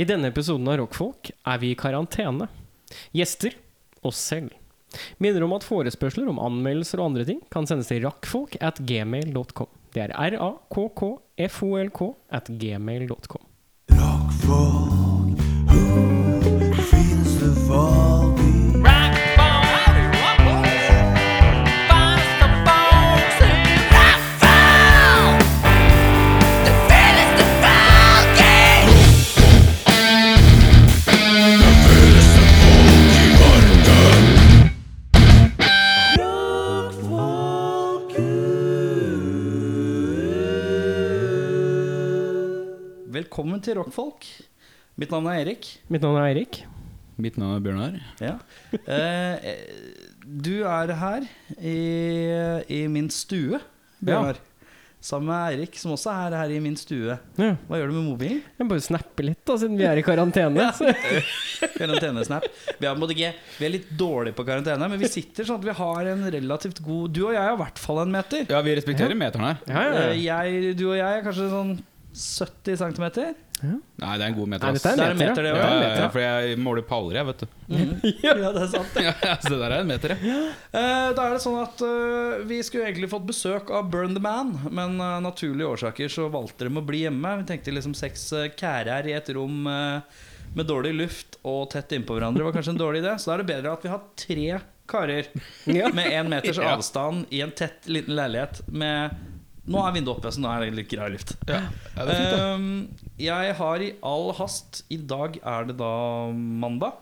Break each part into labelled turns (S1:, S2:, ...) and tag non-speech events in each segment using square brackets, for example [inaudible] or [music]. S1: I denne episoden av Rockfolk er vi i karantene. Gjester oss selv. Minner om at forespørsler om anmeldelser og andre ting kan sendes til rakkfolk at gmail.com. Det er r-a-k-k-f-o-l-k at gmail.com.
S2: Rockfolk, hoe finnes det folk i
S3: Velkommen til Rockfolk. Mitt navn er Erik.
S1: Mitt navn er Eirik.
S4: Mitt navn er Bjørnar.
S3: Ja. Eh, du er her i, i min stue, Bjørnar. Sammen med Eirik, som også er her i min stue.
S1: Ja.
S3: Hva gjør du med mobilen?
S1: Jeg bare snapper litt, da, siden vi er i [laughs] karantene.
S3: Ja. Karantenesnap. Vi er, på en måte ikke, vi er litt dårlige på karantene, men vi sitter sånn at vi har en relativt god Du og jeg er i hvert fall en meter.
S4: Ja, vi respekterer meteren her.
S1: Ja, ja,
S3: Eh,
S1: ja.
S3: Jeg, du og jeg er kanskje sånn 70 cm.
S4: Nei, det er en god meter.
S1: Nei,
S4: ass.
S1: dette er en
S3: Det er en
S1: meter,
S3: meter,
S4: ja,
S3: det
S4: ja,
S3: også.
S4: ja, for jeg måler paller, jeg, vet du. [laughs]
S3: Ja, det er sant.
S4: Ja, så det der er en meter, ja.
S3: Eh, Da er det sånn at eh, Vi skulle egentlig fått besøk av Burn the Man, men av naturlige årsaker så valgte de å bli hjemme. Vi tenkte liksom seks uh, kærer i et rom eh, med dårlig luft og tett innpå hverandre var kanskje en dårlig idé. Så da er det bedre at vi har tre karer
S1: Ja.
S3: med én meters
S4: Ja.
S3: avstand i en tett, liten leilighet med Nå er vinduet oppe, så nå er det litt grei luft.
S4: Ja, ja det er fint, da.
S3: Eh, jeg har i all hast I dag er det da mandag.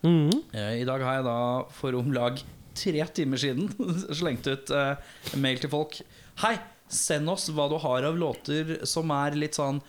S1: Mhm.
S3: Eh, I dag har jeg da for om lag tre timer siden [laughs] slengt ut eh, mail til folk. Hei, send oss hva du har av låter som er litt sånn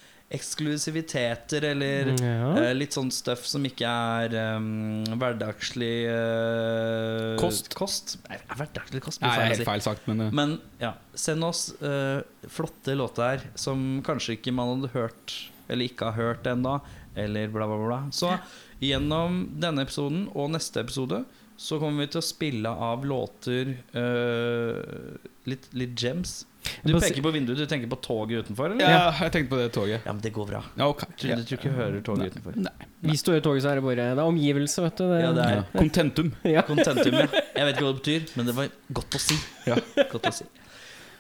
S3: eksklusiviteter, eller
S4: Mm,
S1: Ja.
S3: eh, litt sånn stuff som ikke er eh, hverdagslig eh,
S4: Kost.
S3: kost. Nei, hverdagslig kost altså.
S4: Nei,
S3: blir
S4: det
S3: feil å si.
S4: er helt feil sagt, men eh,
S3: Men ja, send oss eh, flotte låter her som kanskje ikke man hadde hørt, eller ikke har hørt ennå, eller bla, bla, bla. Så gjennom denne episoden og neste episode så kommer vi til å spille av låter eh, litt, litt gems. Du
S1: Bare si-
S3: peker på vinduet, du tenker på toget utenfor, eller?
S4: Ja, jeg tenkte på det toget.
S3: Ja, men det går bra.
S4: Ja, ok.
S3: Du, du tror ikke jeg hører toget utenfor.
S4: Nei.
S1: Hvis du er i toget, så er det bare Det er omgivelse, vet du. Det,
S3: Ja, det er
S4: Ja. Contentum.
S1: Ja.
S3: Contentum, ja. Jeg vet ikke hva det betyr, men det var godt å si.
S4: Ja.
S3: Godt å si.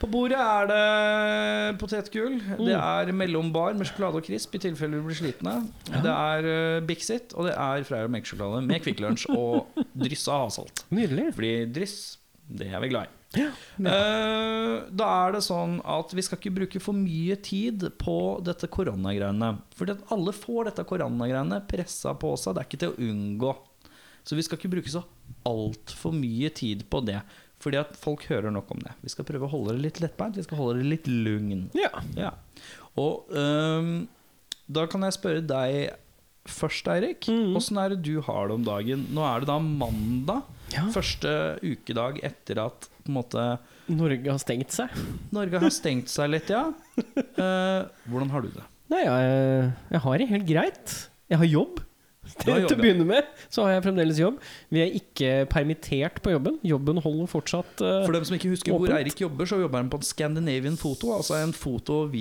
S3: På bordet er det potetgull. Det er mellombar med sjokolade og crisp i tilfelle du blir slitne. Det er eh, Bixit, og det er Freia melkesjokolade med Kvikk Lunsj og dryss av havsalt.
S1: Nydelig.
S3: Fordi dryss, det er vi glad i.
S1: Ja.
S3: Eh, da er det sånn at vi skal ikke bruke for mye tid på dette koronagreiene. Fordi at alle får dette koronagreiene pressa på seg. Det er ikke til å unngå. Så vi skal ikke bruke så altfor mye tid på det. Fordi at folk hører nok om det. Vi skal prøve å holde det litt lettbeint. Vi skal holde det litt lugn.
S1: Ja.
S3: Ja. Og øhm, da kan jeg spørre deg først, Eirik.
S1: Mhm.
S3: Åssen er det du har det om dagen? Nå er det da mandag.
S1: Ja.
S3: Første ukedag etter at på en måte,
S1: Norge har stengt seg.
S3: Norge har stengt seg litt, ja. Eh, hvordan har du det?
S1: Nei, jeg, jeg har det helt greit. Jeg har jobb.
S3: har jobb,
S1: [laughs] Til å
S3: ja.
S1: begynne med så har jeg fremdeles jobb. Vi er ikke permittert på jobben. Jobben holder fortsatt eh,
S3: For dem som ikke husker hvor
S1: Åpent.
S3: Eirik jobber, så jobber han på en Scandinavian Photo, altså en foto- og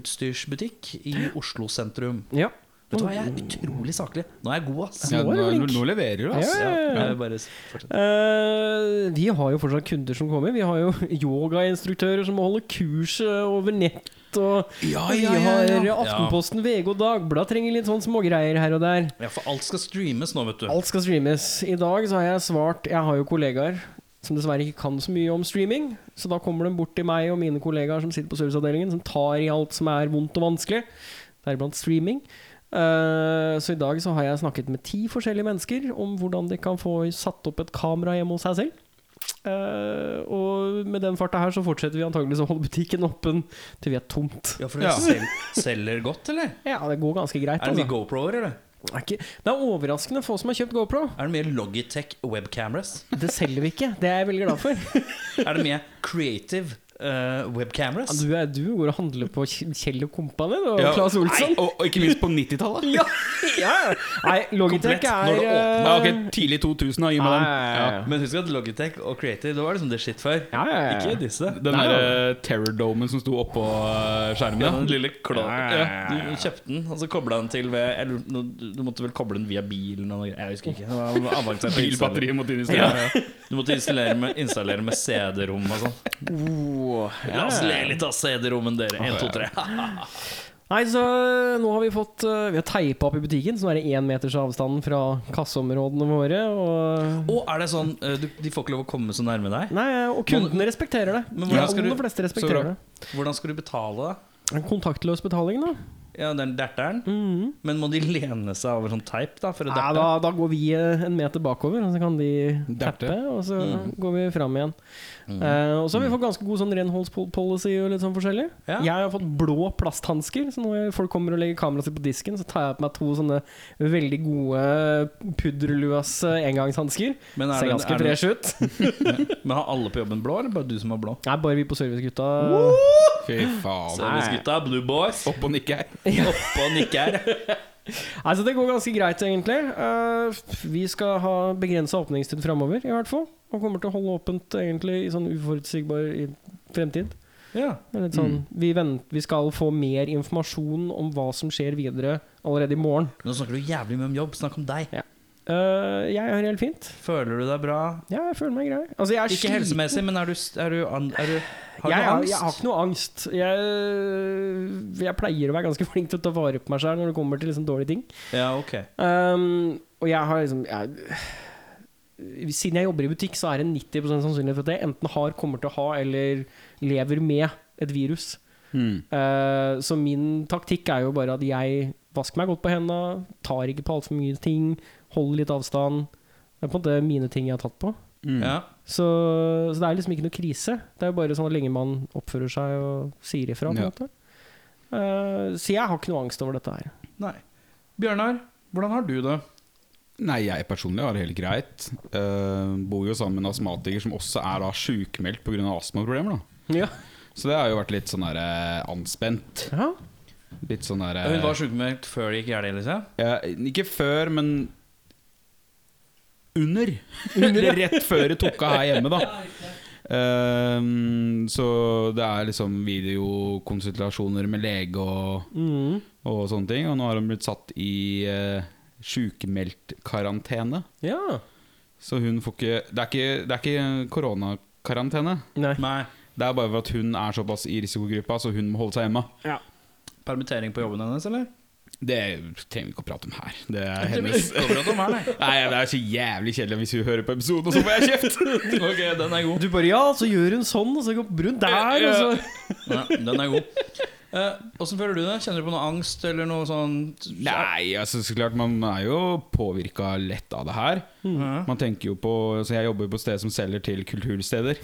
S3: videoutstyrsbutikk i Oslo sentrum.
S1: Ja.
S3: Vet du hva, jeg er utrolig saklig. Nå er jeg god, ass.
S4: Ja,
S1: Nå
S4: nå,
S1: er du
S4: nå,
S1: flink.
S4: nå leverer du, ass.
S1: Ja, ja, ja.
S3: jeg bare s- fortsett.
S1: Eh, vi har jo fortsatt kunder som kommer. Vi har jo [laughs] yogainstruktører som må holde kurs eh, over nett. Og
S4: Ja,
S1: vi
S4: ja, ja, ja.
S1: har Aftenposten, VG og Dagbladet trenger litt sånn smågreier her og der.
S3: Ja, for alt skal streames nå, vet du.
S1: Alt skal streames. I dag så har jeg svart Jeg har jo kollegaer som dessverre ikke kan så mye om streaming. Så da kommer de bort til meg og mine kollegaer som sitter på serviceavdelingen, som tar i alt som er vondt og vanskelig, deriblant streaming. Eh, så i dag så har jeg snakket med ti forskjellige mennesker om hvordan de kan få satt opp et kamera hjemme hos seg selv. Eh, og med den farta her så fortsetter vi antageligvis å holde butikken åpen til vi er tomt.
S3: Ja, for det
S4: Ja.
S3: sel selger godt, eller?
S1: Ja, det går ganske greit.
S3: Er det mye
S1: Altså.
S3: GoPro-er, eller?
S1: Det, er ikke, det er overraskende få som har kjøpt GoPro.
S3: Er det mye Logitech webcameras?
S1: Det selger vi ikke. Det er jeg veldig glad for.
S3: Er det mye Creative eh,
S1: Ja,
S3: webcameras.
S1: Du, er, du går og handler på Kj- Kjell og Company du, og
S4: Ja.
S1: Claes Olsson.
S4: Nei, og, og ikke minst på 90-tallet.
S1: Ja, [laughs] ja. Nei, Logitech
S3: Komplett,
S1: er
S3: når det åpner.
S4: Ja,
S1: eh,
S4: ok, tidlig 2000, da. Gi meg den. Ja.
S1: Nei.
S3: Men husk at Logitech og Creative Det var liksom the shit før.
S1: Ja, ja, ja.
S3: Ikke disse.
S4: Den
S1: Nei,
S4: derre terrordomen som sto oppå eh, skjermen.
S3: Ja, den lille klo
S1: Ja, ja,
S3: ja,
S1: ja,
S3: Du kjøpte den, og så kobla den til ved jeg lurer- nå- Du måtte vel koble den via bilen og noe greier. Jeg husker ikke.
S1: [laughs]
S3: Det var avansert å installere.
S4: Bilbatteriet måtte inn i
S3: Ja.
S4: stedet.
S3: Du måtte installere med, installere med CD-rom og sånn.
S1: Oh, ja.
S3: La oss le litt av CD-rommen, dere. Én, to, tre.
S1: Nei, så nå har vi fått eh, Vi har teipa opp i butikken, så nå er det én meters avstand fra kasseområdene våre. Og,
S3: Og er det sånn eh, du, De får ikke lov å komme så nærme deg?
S1: nei, og kundene respekterer det.
S3: Men
S1: De
S3: hvordan skal,
S1: aller
S3: du,
S1: fleste
S4: så
S1: respekterer
S4: bra.
S1: det.
S3: hvordan skal du betale? da?
S1: En kontaktløs betaling, da.
S3: Ja, den derteren?
S1: Mhm.
S3: Men må de lene seg over sånn teip da for å
S1: Nei,
S3: derte?
S1: da, da går vi eh, en meter bakover, og så kan de
S4: Derte.
S1: teppe. Og så
S3: Mhm.
S1: går vi fram igjen.
S3: Mhm.
S1: Eh, og så har vi fått ganske god sånn renholdspolicy og litt sånn forskjellig.
S3: Ja.
S1: Jeg har fått blå plasthansker, så når folk kommer og legger kameraet sitt på disken, så tar jeg på meg to sånne veldig gode pudderluas eh, engangshansker.
S3: Men, er
S1: Ser
S3: det,
S1: ganske
S3: er det,
S1: fresh ut.
S3: [laughs] men har alle på jobben blå, eller bare du som har blå?
S1: Nei, bare vi på Servicegutta.
S4: Fy
S3: [laughs]
S4: faen.
S3: Servicegutta, Blue Boys,
S1: [laughs]
S4: Opp og nikke her.
S3: oppe og nikker.
S1: Nei, så det går ganske greit, egentlig. Eh, vi skal ha begrensa åpningstid framover, i hvert fall. Og kommer til å holde åpent egentlig i sånn uforutsigbar i fremtid.
S3: Ja.
S1: Det er Litt sånn,
S3: Mm.
S1: vi, vent, vi skal få mer informasjon om hva som skjer videre allerede i morgen.
S3: Nå snakker du jævlig mye om jobb, snakk om deg.
S1: Eh, jeg har det helt fint.
S3: Føler du deg bra?
S1: Ja, jeg føler meg grei. Altså, jeg er
S3: Ikke
S1: sliten.
S3: helsemessig, men er du, er du, an- er du Har
S1: jeg,
S3: du
S1: har-
S3: angst?
S1: Jeg har ikke noe angst. Jeg, eh, jeg pleier å være ganske [laughs] flink til å ta vare på meg sjøl når det kommer til liksom dårlige ting.
S3: Ja, ok.
S1: Ehm, og jeg har liksom jeg, [sighs] Siden jeg jobber i butikk, så er det 90 sannsynlighet for at jeg enten har, kommer til å ha eller lever med et virus.
S4: Hmm.
S1: Eh, så min taktikk er jo bare at jeg vasker meg godt på hendene, tar ikke på altfor mye ting, holder litt avstand. Det er på en måte mine ting jeg har tatt på.
S4: Hmm.
S3: Ja.
S1: Så, så det er liksom ikke noe krise. Det er jo bare sånn at lenge man oppfører seg og sier ifra. på en
S4: Ja.
S1: måte. Eh, så jeg har ikke noe angst over dette her.
S3: Nei. Bjørnar, hvordan har du det?
S4: Nei, jeg personlig har det helt greit. Eh, bor jo sammen med en astmatiker som også er da sjukmeldt pga. astmaproblemer. da
S1: Ja.
S4: Så det har jo vært litt sånn der, eh, anspent.
S1: Ja.
S4: Litt sånn der, eh,
S3: Hun var sjukmeldt før det gikk galt, liksom?
S4: ja, Ikke før, men under. [laughs] Rett før det tok av her hjemme, da. Eh, så det er liksom videokonsultasjoner med lege og
S1: Mm.
S4: og sånne ting. Og nå har hun blitt satt i uh, sjukmeldt karantene.
S1: ja.
S4: Så hun får ikke Det er ikke, det er ikke koronakarantene.
S1: Nei.
S3: Nei.
S4: Det er bare for at hun er såpass i risikogruppa, så hun må holde seg hjemme.
S1: Ja.
S3: Permittering på jobben hennes, eller?
S4: Det trenger vi ikke å prate om her. Det er hennes
S3: [laughs] Kommer at de er, nei.
S4: [laughs] Nei, det er så jævlig kjedelig hvis hun hører på episoden, og så får jeg kjeft!
S3: [laughs] Ok, den er god.
S1: Du bare ja, så gjør hun sånn, og så går hun der, og så
S3: Ja, den er god. Eh, Åssen føler du det? Kjenner du på noe angst eller noe sånn
S4: Nei, altså så klart, man er jo påvirka lett av det her.
S3: Ja.
S4: Man tenker jo på Så jeg jobber på sted som selger
S3: [laughs]
S4: til kultursteder.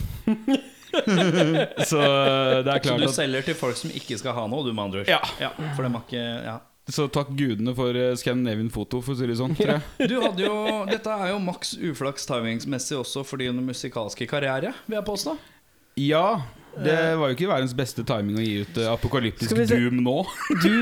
S4: så eh, det er
S3: Så
S4: klart
S3: du
S4: at
S3: selger til folk som ikke skal ha noe, du med andre ord?
S4: Ja.
S3: for dem har ikke ja.
S4: Så takk gudene for eh, Scandinavian Photo, for å si det sånn. Tror jeg.
S3: Du hadde jo Dette er jo maks uflaks timingsmessig også for din musikalske karriere, vil jeg påstå.
S4: Ja, det var jo ikke verdens beste timing å gi ut eh, apokalyptisk
S1: Skal vi se-
S4: doom nå. [laughs]
S1: Du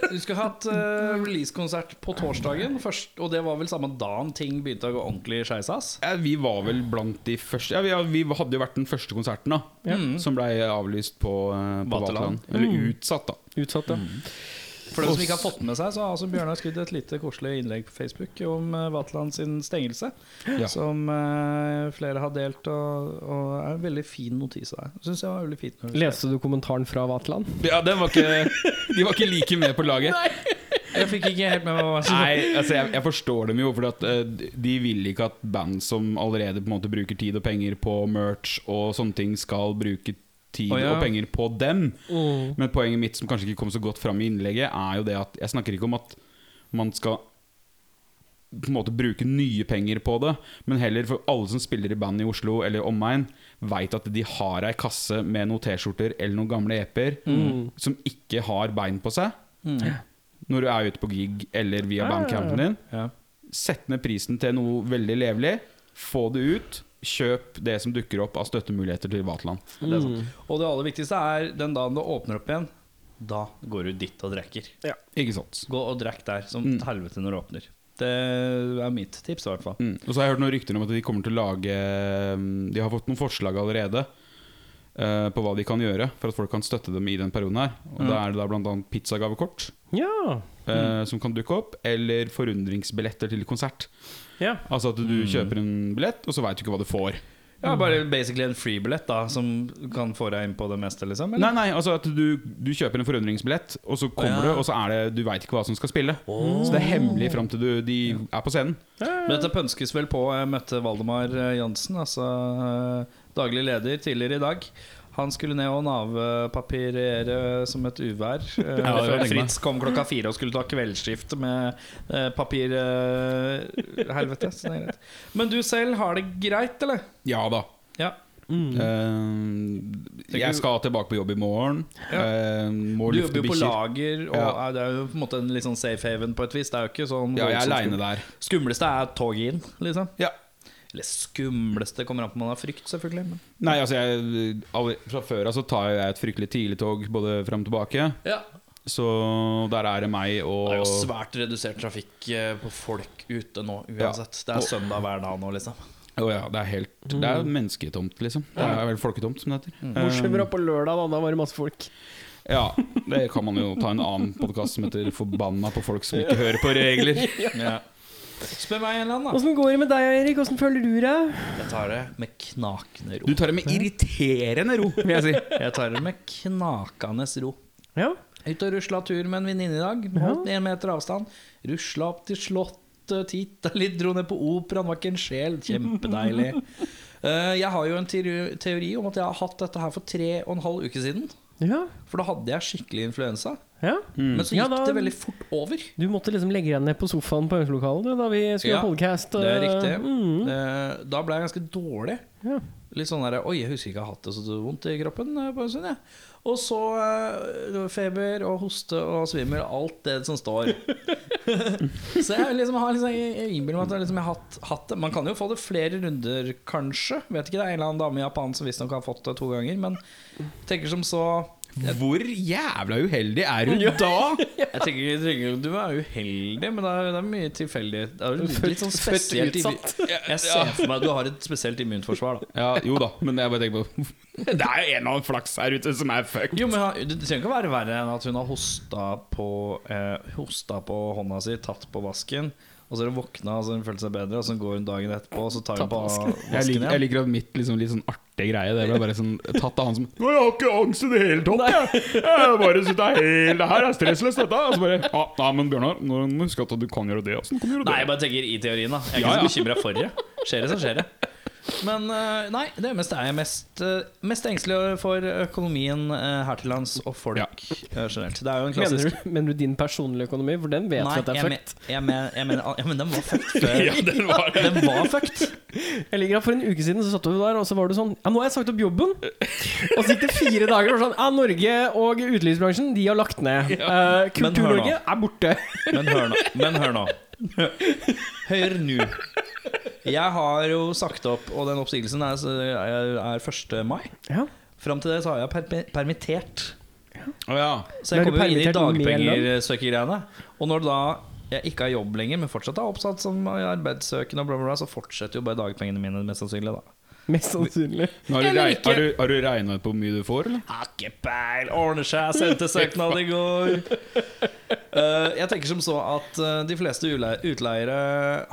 S3: Du skulle hatt eh, releasekonsert på torsdagen, først, og det var vel samme dagen ting begynte å gå ordentlig skeisas?
S4: Ja, vi var vel blant de første Ja, vi, vi hadde jo vært den første konserten da
S3: Mm.
S4: som blei avlyst på, eh, på
S3: Vaterland.
S4: Vaterland. Mm. Eller utsatt, da.
S1: Utsatt, ja.
S3: For dem som ikke har fått med seg, så har altså Bjørnar skrevet et lite koselig innlegg på Facebook om eh, Vatland sin stengelse,
S4: Ja.
S3: som eh, flere har delt, og, og er en veldig fin notis av deg. Syns jeg var veldig fint.
S1: Leste du kommentaren fra Vatland?
S4: Ja, den var ikke, de var ikke like med på laget.
S3: Jeg fikk ikke helt med meg hva som
S4: Nei, altså jeg, jeg forstår dem jo, for at, eh, de vil ikke at band som allerede på en måte bruker tid og penger på merch og sånne ting, skal bruke tid
S3: Å, ja.
S4: og penger på dem.
S1: Mm.
S4: Men poenget mitt, som kanskje ikke kom så godt fram i innlegget, er jo det at jeg snakker ikke om at man skal på en måte bruke nye penger på det, men heller for alle som spiller i band i Oslo eller omegn, veit at de har ei kasse med noen T-skjorter eller noen gamle EP-er som ikke har bein på seg, når du er ute på gig eller via bandcampen din.
S3: Ja.
S4: Sett ned prisen til noe veldig levelig, få det ut, kjøp det som dukker opp av støttemuligheter til Vaterland.
S3: Det er sant. Og det aller viktigste er den dagen det åpner opp igjen, da går du dit og drikker.
S4: Ikke sant?
S3: Gå og drikk der som
S4: Mm.
S3: helvete når det åpner. Det er mitt tips, i hvert fall.
S4: Mm. Og så har jeg hørt noen rykter om at de kommer til å lage mm, De har fått noen forslag allerede eh, på hva de kan gjøre for at folk kan støtte dem i den perioden her. Og Da er det da bl.a. pizzagavekort
S1: Ja.
S4: eh, som kan dukke opp, eller forundringsbilletter til konsert.
S1: ja.
S4: Altså at du kjøper en billett, og så veit du ikke hva du får.
S3: Ja, bare basically en freebillett da, som kan få deg inn på det meste, liksom?
S4: Nei, nei, altså at du, du kjøper en forundringsbillett, og så
S3: Ja.
S4: kommer du, og så er det du veit ikke hva som skal spille. Så det er hemmelig fram til du, de er på scenen.
S3: Men dette pønskes vel på. Jeg møtte Valdemar eh, Jansen, altså eh, daglig leder, tidligere i dag. Han skulle ned og navepapirere som et
S4: [laughs]
S3: uvær. Eh,
S4: Ja, det var
S3: Fritz kom klokka fire og skulle ta kveldsskifte med eh, papir... eh, Helvete. Så det er greit. Men du selv har det greit, eller?
S4: Ja da.
S3: Ja.
S4: Eh, jeg skal tilbake på jobb i morgen. Eh, må
S3: Du
S4: lufte
S3: jobber jo på
S4: bikkjer.
S3: lager, og
S4: Ja.
S3: er- det er jo på en måte en litt sånn safe haven på et vis. Det er jo ikke sånn
S4: Ja, jeg er
S3: voldsomt skum-
S4: aleine der.
S3: Skumleste er toget inn, liksom.
S4: Ja.
S3: Eller skumleste kommer an på om man har frykt, selvfølgelig. Men.
S4: Nei, altså jeg, alle- Fra før av så tar jeg et fryktelig tidlig tog både fram og tilbake. Så der er det meg og
S3: Det er jo svært redusert trafikk eh, på folk ute nå uansett. Det er søndag hver dag nå, liksom.
S4: Å ja, det er helt Det
S3: Mm.
S4: er mennesketomt, liksom. Det er vel folketomt, som det heter. Eh,
S1: Bortsett
S3: Ehm.
S1: fra på lørdag, da. Da var det masse folk.
S4: Ja, det kan man jo ta en annen podkast som heter 'Forbanna på folk som ikke hører på
S3: [laughs]
S4: regler'.
S3: Spør meg en eller annen,
S1: Åssen går det med deg, Erik? Åssen føler du deg?
S3: da. Jeg tar det med knakende
S4: Du
S3: ro.
S4: tar det med irriterende ro, vil jeg si.
S3: Jeg tar det med knakende ro.
S1: Ja.
S3: Ute og rusla tur med en venninne i dag. Holdt én meter avstand. Rusla opp til Slottet, titta litt, dro ned på operaen. Var ikke en sjel. Kjempedeilig.
S4: [laughs]
S3: Eh, Jeg har jo en teori teori om at jeg har hatt dette her for tre og en halv uke siden.
S1: Ja.
S3: For da hadde jeg skikkelig influensa.
S1: ja.
S4: Mm.
S3: Men så
S1: Ja,
S3: gikk
S1: da-
S3: det veldig fort over.
S1: Du måtte liksom legge deg ned på sofaen på øvingslokalet du, da vi skulle
S3: Ja,
S1: ha podcast.
S3: Det er
S1: eh,
S3: riktig.
S1: mm.
S3: Eh, Da ble jeg ganske dårlig.
S1: Ja.
S3: Litt sånn der, Oi, jeg husker ikke jeg har hatt det så vondt i kroppen. eh, På en stund, jeg. Og så eh, det var feber og hoste og svimmel. Alt det som står.
S1: [laughs]
S3: så jeg liksom har liksom, jeg innbiller meg at jeg liksom har hatt, hatt det. Man kan jo få det flere runder, kanskje. Vet ikke, Det er en eller annen dame i Japan som visstnok har fått det to ganger. Men tenker som så
S4: Hvor jævla uheldig er hun
S1: [laughs]
S4: da?
S3: Jeg tenker, jeg tenker Du er uheldig, men det er, det er mye tilfeldig. Det er jo litt, litt sånn
S1: født
S3: spesielt immu-
S1: [laughs]
S3: Jeg ser for meg at du har et spesielt immunforsvar, da.
S4: Ja, jo da, men jeg bare tenker på [laughs] Det er jo en eller annen flaks her ute som er fucked.
S3: Jo, men han- Det trenger ikke å være verre enn at hun har hosta på, eh, hosta på hånda si, tatt på vasken. Og så har hun våkna og så har hun følt seg bedre, og så går hun dagen etterpå og så tar hun
S1: Tatt på
S3: på
S1: vasken.
S3: vasken
S4: Jeg liker, jeg
S3: igjen.
S4: liker at mitt liksom, litt sånn artig greie Det ble bare sånn tatt av han som Nå, jeg har ikke angst i det hele tatt jeg. Jeg bare synes det er helt Det her er stressløst dette Og så bare ah, Nei, men Bjørnar Nå må du huske at du kan gjøre det altså. Hvordan kan du gjøre det?
S3: Nei, jeg bare tenker i teorien, da. Jeg er ikke
S4: Ja, ja.
S3: så bekymra for det. Skjer det, så skjer det. Men eh, nei, det meste er jeg mest, eh, mest engstelig for økonomien eh, her til lands og folk
S4: Ja.
S3: eh, generelt. Det er jo en klassisk
S1: Mener, du, mener du din personlige økonomi? For den vet vi at det er
S3: jeg,
S1: fucked.
S3: men- jeg, men- jeg mener ja, Men den var
S4: [laughs]
S3: fucked før.
S4: Ja, den var det.
S3: Den var fucked.
S1: Jeg ligger her For en uke siden så satt du der, og så var du sånn Ja, nå har jeg sagt opp jobben! Og så gikk det fire dager, og sånn Ja, Norge og utelivsbransjen, de har lagt ned. Eh,
S3: Men hør nå.
S1: Kultur-Norge er borte.
S3: Men hør nå. Men hør nå. Hør nå. Jeg har jo sagt opp, og den oppsigelsen er, er 1. mai.
S1: Ja.
S3: Fram til det så har jeg permi- permittert.
S4: Å ja
S3: Så
S1: Men er
S3: jeg
S1: du
S3: kommer jo inn i
S1: permittert med lønn?
S3: dagpengersøkergreiene. Og når da jeg ikke har jobb lenger, men fortsatt er oppsatt som arbeidssøkende, og bla, bla, bla, så fortsetter jo bare dagpengene mine mest sannsynlig, da.
S1: Mest sannsynlig.
S4: Nå har, du reg, har, du, har du regnet på hvor mye du får, eller?
S3: Har ikke peil, ordner seg, sendte søknad i går. Eh, jeg tenker som så at eh, de fleste ule- utleiere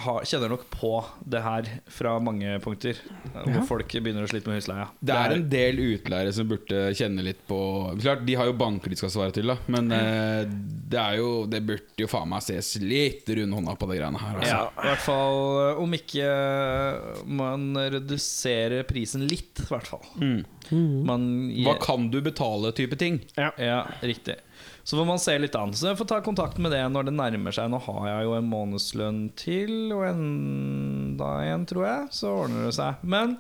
S3: har, kjenner nok på det her fra mange punkter. eh, Hvor folk begynner å slite med husleia.
S4: Det er en del utleiere som burde kjenne litt på Klart, de har jo banker de skal svare til da Men eh, det er jo Det burde jo faen meg ses litt rundt hånda på det greiene her altså.
S3: ja, I hvert fall eh, om ikke eh, man reduserer prisen litt, i hvert fall. Man
S4: Hva kan du betale type ting?
S3: Ja, riktig. Så får man se litt an. Så jeg får ta kontakt med det når det nærmer seg. Nå har jeg jo en månedslønn til, og enda en, tror jeg. Så ordner det seg. Men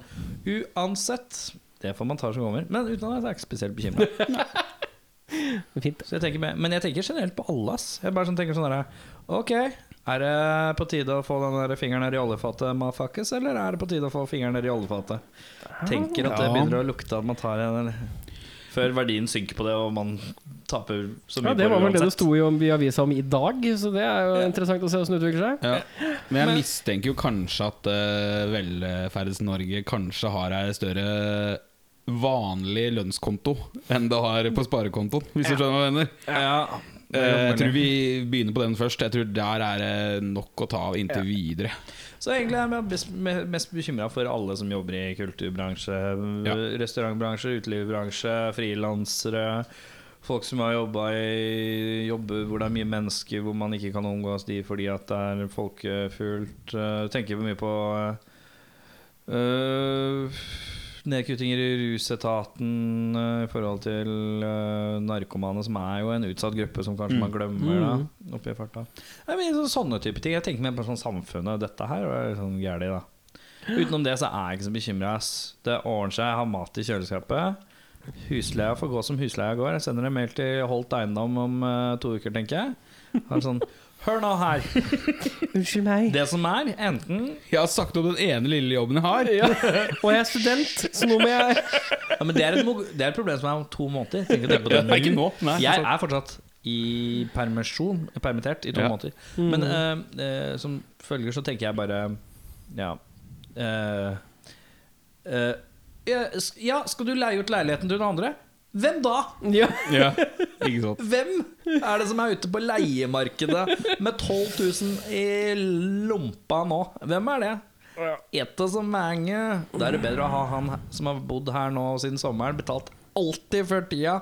S3: uansett Det får man ta som kommer. Men uten at jeg er ikke spesielt bekymra.
S1: Fint.
S3: Så jeg tenker med- Men jeg tenker generelt på alle, ass. Jeg bare sånn tenker sånn der, Ok, Er det på tide å få den der fingeren ned i oljefatet, motherfuckers, eller er det på tide å få fingeren ned i oljefatet? Tenker at det
S4: Ja.
S3: begynner å lukte at man tar en Før verdien synker på det, og man taper så mye
S1: Ja, det var
S3: på
S1: vel det det
S3: uansett.
S1: sto i, om- i avisa om i dag, så det er jo interessant å se hvordan det utvikler seg.
S4: Ja. Men jeg mistenker jo kanskje at uh, Velferds-Norge kanskje har ei større vanlig lønnskonto enn det har på sparekontoen, hvis du skjønner hva jeg mener.
S3: Ja.
S4: Eh, jeg tror vi begynner på den først. Jeg tror der er det nok å ta av inntil videre.
S3: Så egentlig er jeg best- me- mest bekymra for alle som jobber i kulturbransje,
S4: Ja.
S3: restaurantbransje, utelivsbransje, frilansere. Folk som har jobba i jobber hvor det er mye mennesker, hvor man ikke kan omgås de fordi at det er folkefullt. Eh, Tenker mye på eh, eh, nedkuttinger i rusetaten eh, i forhold til eh, narkomane, som er jo en utsatt gruppe som kanskje man glemmer da, oppi farta. Nei, men så- Sånne type ting. Jeg tenker mer på sånn samfunnet. Dette her er litt sånn gærlig, da. Utenom det så er jeg ikke så bekymra. Det ordner seg. Jeg har mat i kjøleskapet. Husleia får gå som husleia går. Jeg sender en mail til Holt Eiendom om eh, to uker, tenker jeg. Har sånn Hør nå her.
S1: Unnskyld meg.
S3: Det som er, enten
S4: Jeg har sagt opp den ene lille jobben jeg har.
S1: Og jeg er student, så nå må jeg
S3: ja, men det, er et, mo- det er et problem som er om to måneder. Tenk å tenke på det
S4: Nei, ikke nå. Nei,
S3: jeg er fortsatt i permisjon, permittert i to
S4: Ja. Mm.
S3: måneder. Men eh, eh, som følger så tenker jeg bare Ja. eh, eh, ja, sk- ja, skal du leie ut leiligheten til noen andre? Hvem da?
S1: [laughs] ja.
S4: [laughs] Ja, ikke sant.
S3: Hvem er det som er ute på leiemarkedet med 12 000 i lompa nå? Hvem er det? Ete så mange. Da er det bedre å ha han som har bodd her nå siden sommeren, betalt alltid før tida.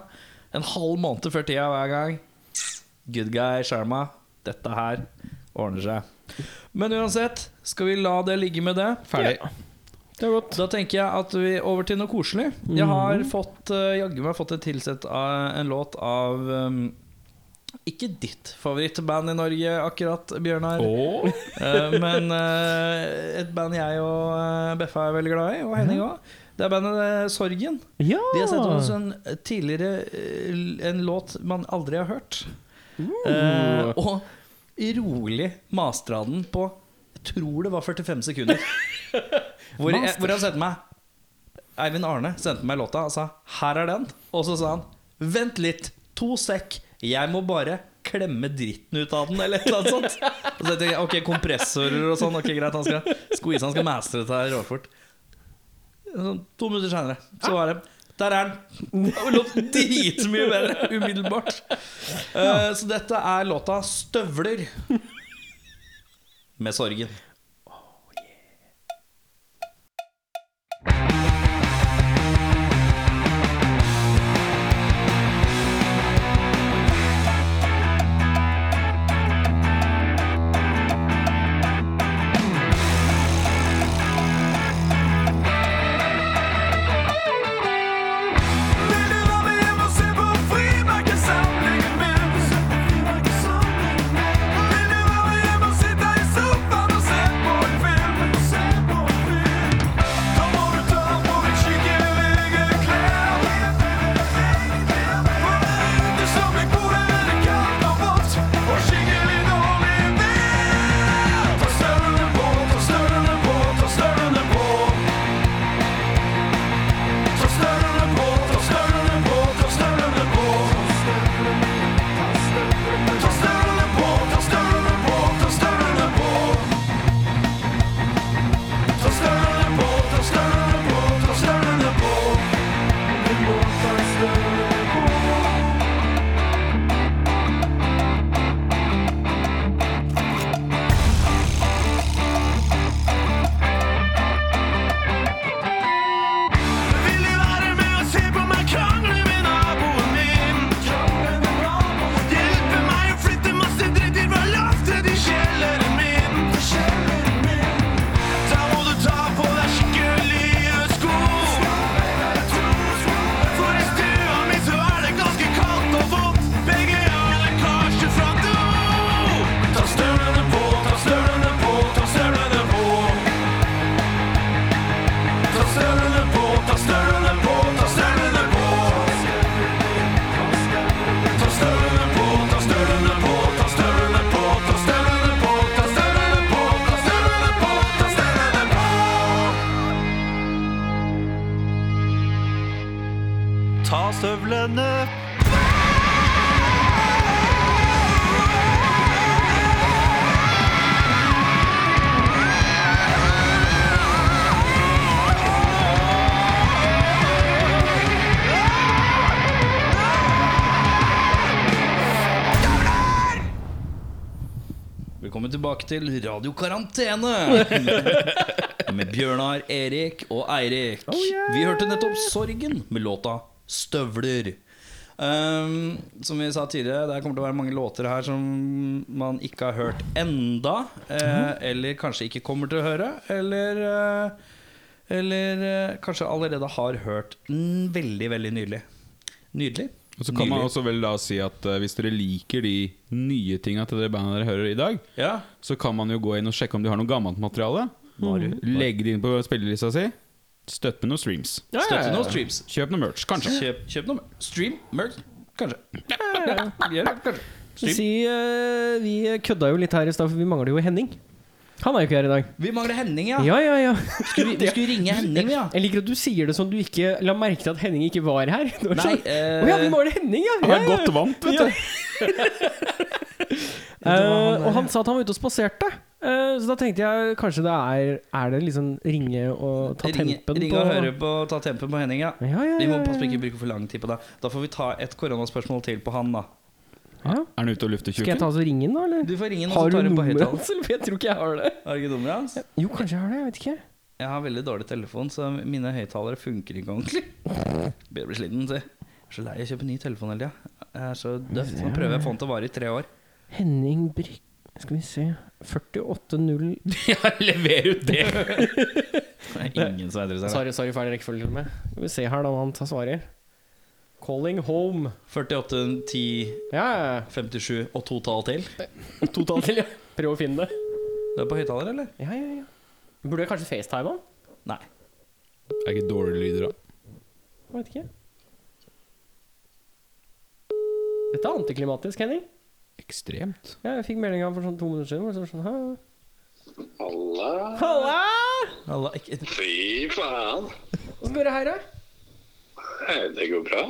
S3: En halv måned før tida hver gang. Good guy, skjerma. Dette her ordner seg. Men uansett, skal vi la det ligge med det?
S4: Ferdig.
S1: Det er godt.
S3: Da tenker jeg at vi over til noe koselig. Jeg har fått eh, jaggu meg fått et tilsett av en låt av eh, ikke ditt favorittband i Norge akkurat, Bjørnar.
S4: Åh.
S3: Eh, men eh, et band jeg og eh, Beffa er veldig glad i, og Henning òg. Det er bandet eh, Sorgen.
S1: Ja.
S3: De har sett oss en tidligere eh, En låt man aldri har hørt. Eh, og rolig mastra den på Jeg tror det var 45 sekunder. hvor, jeg, hvor han sendte meg Eivind Arne sendte meg låta og sa 'her er den'. Og så sa han 'vent litt, to sekk, jeg må bare klemme dritten ut av den', eller et eller annet sånt. Og så tenkte jeg ok, kompressorer og sånn, ok greit, han skal squeeze, han skal mastre dette her råfort. Sånn To minutter seinere, så var det Der er den! Og Låt dritmye bedre umiddelbart. Eh, så dette er låta 'Støvler' med sorgen.
S2: Vil du være hjemme og sitte i sofaen og se
S5: støvlene.
S3: Velkommen tilbake til Radio
S4: [laughs]
S3: Karantene! med Bjørnar, Erik og Eirik.
S4: Oh,
S3: Vi hørte nettopp Sorgen med låta 'Støvler'. Um, som vi sa tidligere, det kommer til å være mange låter her som man ikke har hørt enda
S4: Mhm.
S3: eh, Eller kanskje ikke kommer til å høre. Eller, eh, eller eh, kanskje allerede har hørt mm, veldig, veldig nydelig. Nydelig.
S4: Og så kan man
S3: Nydelig.
S4: også vel da si at eh, hvis dere liker de nye tinga til det bandet dere hører i dag,
S3: Ja.
S4: så kan man jo gå inn og sjekke om de har noe gammelt materiale.
S3: Mm.
S4: Legge det inn på spillelista si. Støtt med noen streams.
S1: Ja, ja,
S3: Støtte
S1: ja.
S3: noen streams.
S4: Kjøp noe merch, kanskje.
S3: Kjøp, kjøp noe mer. Stream, merch, kanskje. Gjør det, kanskje.
S1: Så
S3: Stream.
S1: Si, eh, vi kødda jo litt her i stad, for vi mangler jo Henning. Han er jo ikke her i dag.
S3: Vi mangler Henning, ja.
S1: Ja, ja, ja.
S3: Skulle, vi, vi skulle ringe Henning, ja.
S1: Jeg liker at du sier det som du ikke la merke til at Henning ikke var her. Det var
S3: Nei,
S1: sånn,
S3: eh,
S1: Å ja, vi mangler Henning, ja!
S4: Han
S1: ja,
S4: er
S1: ja.
S4: godt vant, vet du.
S1: [laughs] Eh, og han sa at han var ute og spaserte. Eh, så da tenkte jeg kanskje det er Er det liksom ringe og ta
S3: eh, Ringe,
S1: tempen
S3: ringe
S1: på
S3: og høre på ta tempen på Henning, ja.
S1: Ja, ja, ja,
S3: Vi må
S1: ja,
S3: passe på
S1: ja.
S3: ikke å bruke for lang tid på det. Da får vi ta et koronaspørsmål til på han, da.
S1: Ja.
S4: Er han ute og lufter
S1: Skal jeg
S4: tjukken?
S1: ta så ringen, da? Eller?
S3: Du får ringe og
S1: Har
S3: så
S1: du
S3: tar hun på
S1: nummeret [laughs]
S3: høyttaler.
S1: hans? eller? For Jeg tror ikke jeg har det.
S3: Er det ikke dummere hans?
S1: Jo, kanskje jeg har det. Jeg vet ikke.
S3: Jeg har veldig dårlig telefon, så mine høyttalere funker ikke ordentlig. Begynner å bli sliten, si. Jeg er så lei av å kjøpe ny telefon hele tida. Jeg er så døv. Nå prøver jeg å få den til å vare i tre år.
S1: Henning Brykk Skal vi se 48.0
S4: [laughs] Ja, lever ut det!
S3: Det er ingen som er interessert.
S1: Sorry, sorry, feil rekkefølge. til og med. Skal vi se her, da, hva han tar svarer. Calling home.
S3: 48, 10,
S1: Ja, ja, ja.
S3: 57 og to tall til.
S1: Totalt til, ja. Prøv å finne det.
S3: Du er på høyttaler, eller?
S1: Ja, ja, ja. Burde jeg kanskje facetime han?
S3: Nei.
S4: Er ikke dårlige lyder, da.
S1: Jeg vet ikke. Dette er antiklimatisk, Henning.
S4: Ekstremt.
S1: Ja, jeg fikk meldinga for sånn to minutter siden. hvor det står Sånn, «Hæ?»
S6: Halla!
S1: Halla!
S3: Alla, ikke,
S6: Fy faen!
S1: Åssen går det her, da?
S6: Eh, Det går bra.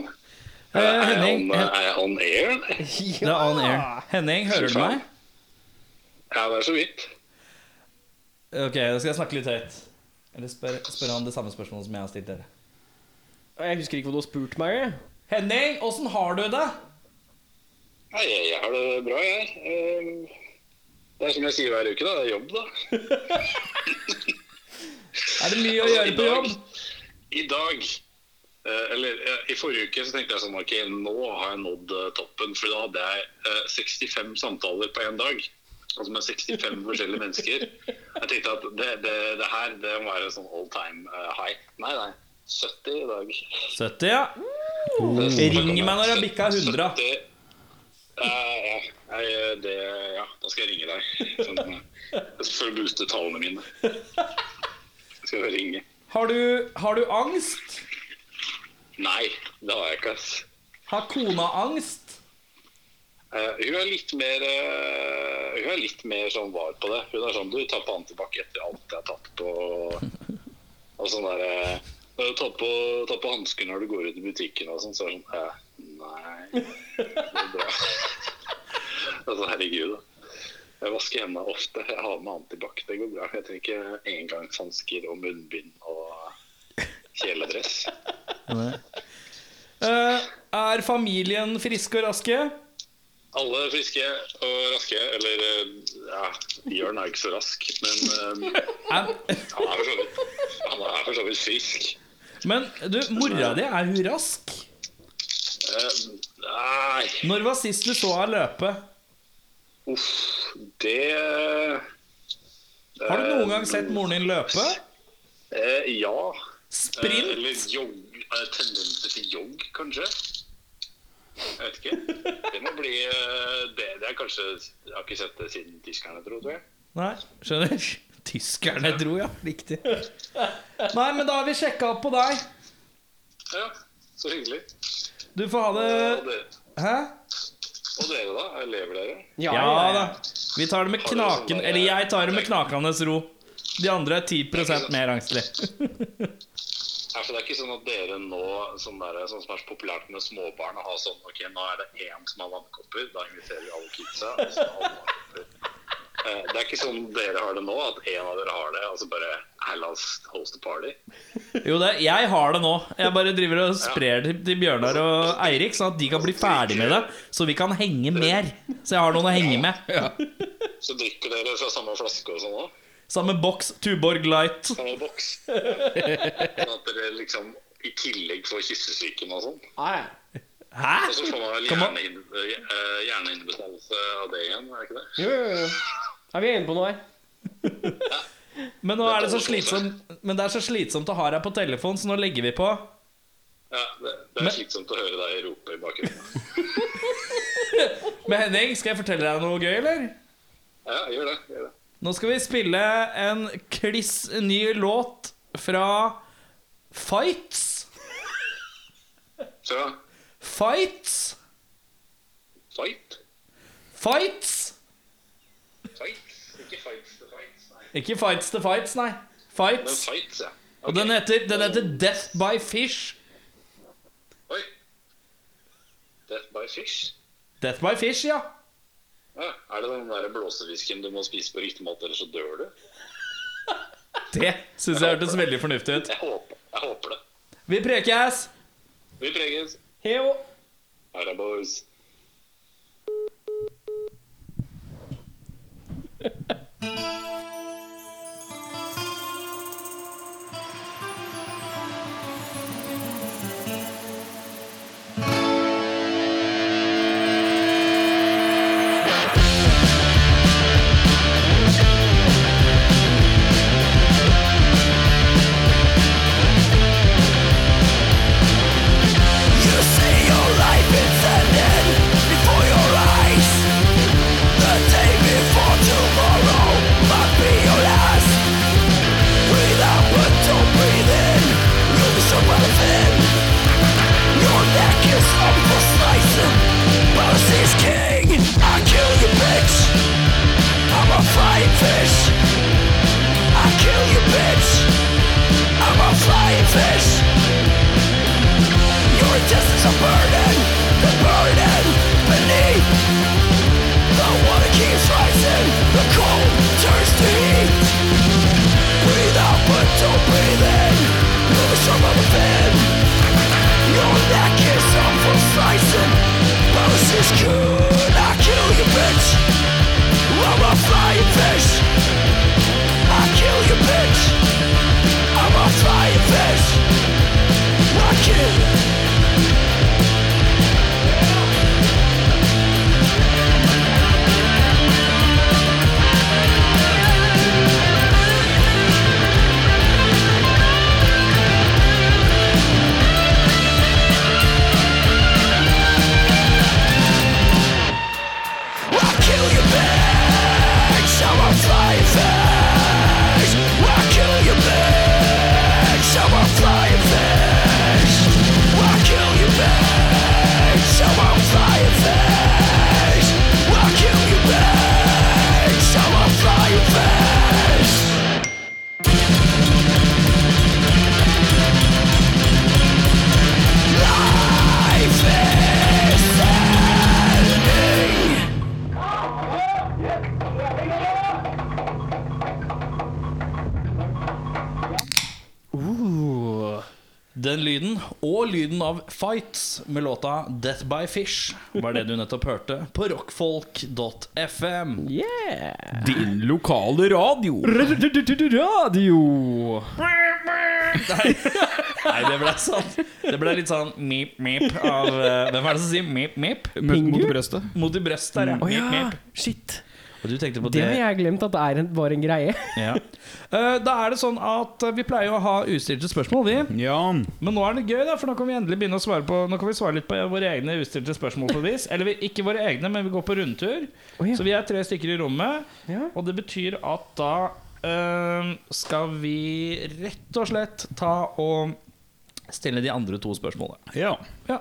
S3: Eh,
S6: er, jeg
S3: Henning,
S6: on,
S3: Hen-
S6: er jeg on air? eller?
S3: det er on air. Henning, hører du meg?
S6: Ja, det er så vidt.
S3: Ok, da skal jeg snakke litt høyt. Eller spør, spør han det samme spørsmålet som jeg har stilt dere.
S1: Jeg husker ikke hva du har spurt meg.
S3: Henning, åssen har du det?
S6: Nei, jeg, jeg har det bra, jeg. Eh, Det er som jeg sier hver uke, da. Det er jobb, da.
S3: [laughs] Er det mye å gjøre på jobb?
S6: I dag eh, eller eh, I forrige uke så tenkte jeg sånn Ok, nå har jeg nådd eh, toppen. For da hadde jeg eh, 65 samtaler på én dag. Altså
S3: [laughs]
S6: med 65 forskjellige mennesker. Jeg tenkte at det, det, det her det må være en sånn all time eh, high. Nei, nei. 70 i dag.
S3: 70, ja. Ring meg når jeg bikker 100.
S6: Det, eh, ja, jeg, det, ja, da skal jeg ringe deg. Sånn, eh, for å booste tallene mine. Jeg skal ringe.
S3: Har du, har du angst?
S6: Nei, det har jeg ikke. ass.
S3: Har kona angst?
S6: Eh, hun er litt mer eh, Hun er litt mer sånn var på det. Hun er sånn Du tar pannen tilbake etter alt jeg har tatt på Og sånn der eh, «Eh, Ta på, ta på hansker når du går ut i butikken og sånn. Så er det sånn eh, Nei, det er bra. [laughs] altså, herregud, da. Jeg vasker hendene ofte. Jeg har med antibac. Det går bra. Jeg trenger ikke engangshansker og munnbind og kjeledress.
S3: Eh, er familien friske og raske?
S6: Alle er friske og raske. Eller eh, ja, Jørn er ikke så rask, men eh,
S3: Er,
S6: Han er for så vidt, han er for så vidt frisk.
S3: men du, mora di, er hun rask?
S6: Eh, nei,
S3: Når var sist du så henne løpe?
S6: uff, det
S3: Har du noen gang sett moren din løpe?
S6: eh, Ja. Eh, eller
S3: Sprint?
S6: jogg. eh, tendenser til jogg, kanskje. Jeg vet ikke. Det må bli eh, det. Det er kanskje Jeg har ikke sett det siden tyskerne dro, tror jeg.
S3: Nei, skjønner. [laughs] Tyskerne dro, ja. Riktig. Nei, men da har vi sjekka opp på deg.
S6: Ja, så hyggelig.
S3: Du får ha
S6: Og
S3: det
S6: dere,
S3: Hæ?
S6: og dere da? Lever dere?
S1: Ja,
S3: Ja da. Vi tar det med
S6: Har dere sånn
S3: knaken
S6: der-
S3: Eller jeg tar det med knakende ro. De andre er 10 mer angstlige.
S6: Ja, for det er ikke sånn at dere nå, sånn, der, sånn som er så populært med småbarn, har sånn Ok, nå er det én som har vannkopper, da inviterer vi alle kidsa. Og så har alle vannkopper. Eh, Det er ikke sånn dere har det nå, at én av dere har det, og så bare «Nei, La oss host a party.
S3: Jo, det, jeg har det nå. Jeg bare driver og sprer det til Bjørnar og Eirik, sånn at de kan bli ferdig med det, så vi kan henge mer. Så jeg har noen å henge med.
S6: Så drikker dere fra samme flaske og sånn òg.
S3: Samme boks, Tuborg Light.
S6: Samme boks. Ja. Sånn at dere liksom i tillegg får kyssesyken og sånn.
S1: Nei,
S6: Og
S3: Hæ?
S6: så får man vel
S3: Kan man-
S6: hjerneinn- eh, hjerneinnbetennelse av det igjen, er det ikke det?
S1: jo, jo, jo. Er vi inne på noe her?
S3: Men nå er det så slitsomt Men det er så slitsomt å ha deg på telefon, så nå legger vi på.
S6: Ja, det, det
S3: Men-
S6: er slitsomt å høre deg rope i bakgrunnen.
S3: Men Henning, skal jeg fortelle deg noe gøy, eller?
S6: Ja, gjør det. gjør det.
S3: Nå skal vi spille en kliss ny låt fra Fights.
S6: Så,
S3: Fights.
S6: fight.
S3: Fights.
S6: Fights. Ikke fights to fights, nei.
S3: Ikke Fights to Fights, nei.
S6: Men
S3: Fights.
S6: fights, ja.
S3: Og den heter, den heter Death by Fish.
S6: Oi. Death by fish.
S3: Death by Fish, ja.
S6: Ja, er det den der blåsefisken du må spise på riktig måte, ellers så dør du?
S3: Det syns jeg hørtes veldig fornuftig ut.
S6: Jeg håper, jeg håper det.
S3: Vi prekes.
S6: Vi preges.
S1: Heo.
S6: Her er boys.
S5: Fish! Your existence a burden, the burden beneath. The water keeps rising, the cold turns to heat. Breathe out, but don't breathe in. Feel the storm of within. Your neck is up for slicing. Moses could I kill you, bitch? I'm a flying fish. I kill you, bitch. I'm a flying fish. I kill. I'll kill you, bitch. I'm a flying fish. I'll kill you, bitch. I'm a flying fish. I'll kill you, bitch. I'm a flying fish. I'll kill you, bitch. I'm a flying fish. Life is ending.
S3: Den lyden, og lyden av Fights med låta Death by Fish, var det du nettopp hørte på rockfolk.fm.
S1: Yeah.
S4: Din lokale radio.
S1: Radio.
S3: Nei, det ble sånn Det ble litt sånn mip, mip av eh, Hvem er det som sier mip, mip?
S4: Mot, mot
S1: Pingu?
S4: brøstet.
S3: Mot i brøst der, ja.
S1: Å
S3: Mip,
S1: ja.
S3: mip.
S1: Ah, Shit.
S3: Og du tenkte på
S1: Det
S3: det?
S1: har jeg glemt at det er en, var en greie.
S3: Ja. Eh, Da er det sånn at eh, vi pleier jo å ha ustilte spørsmål, vi.
S4: Ja.
S3: Men nå er det gøy, da, for nå kan vi endelig begynne å svare på Nå kan vi svare litt på våre egne ustilte spørsmål. på vis Eller vi, ikke våre egne, men vi går på rundtur.
S1: Å, ja.
S3: Så vi er tre stykker i rommet.
S1: Ja.
S3: Og det betyr at da øhm, skal vi rett og slett ta og stille de andre to spørsmålene.
S4: ja.
S3: Ja.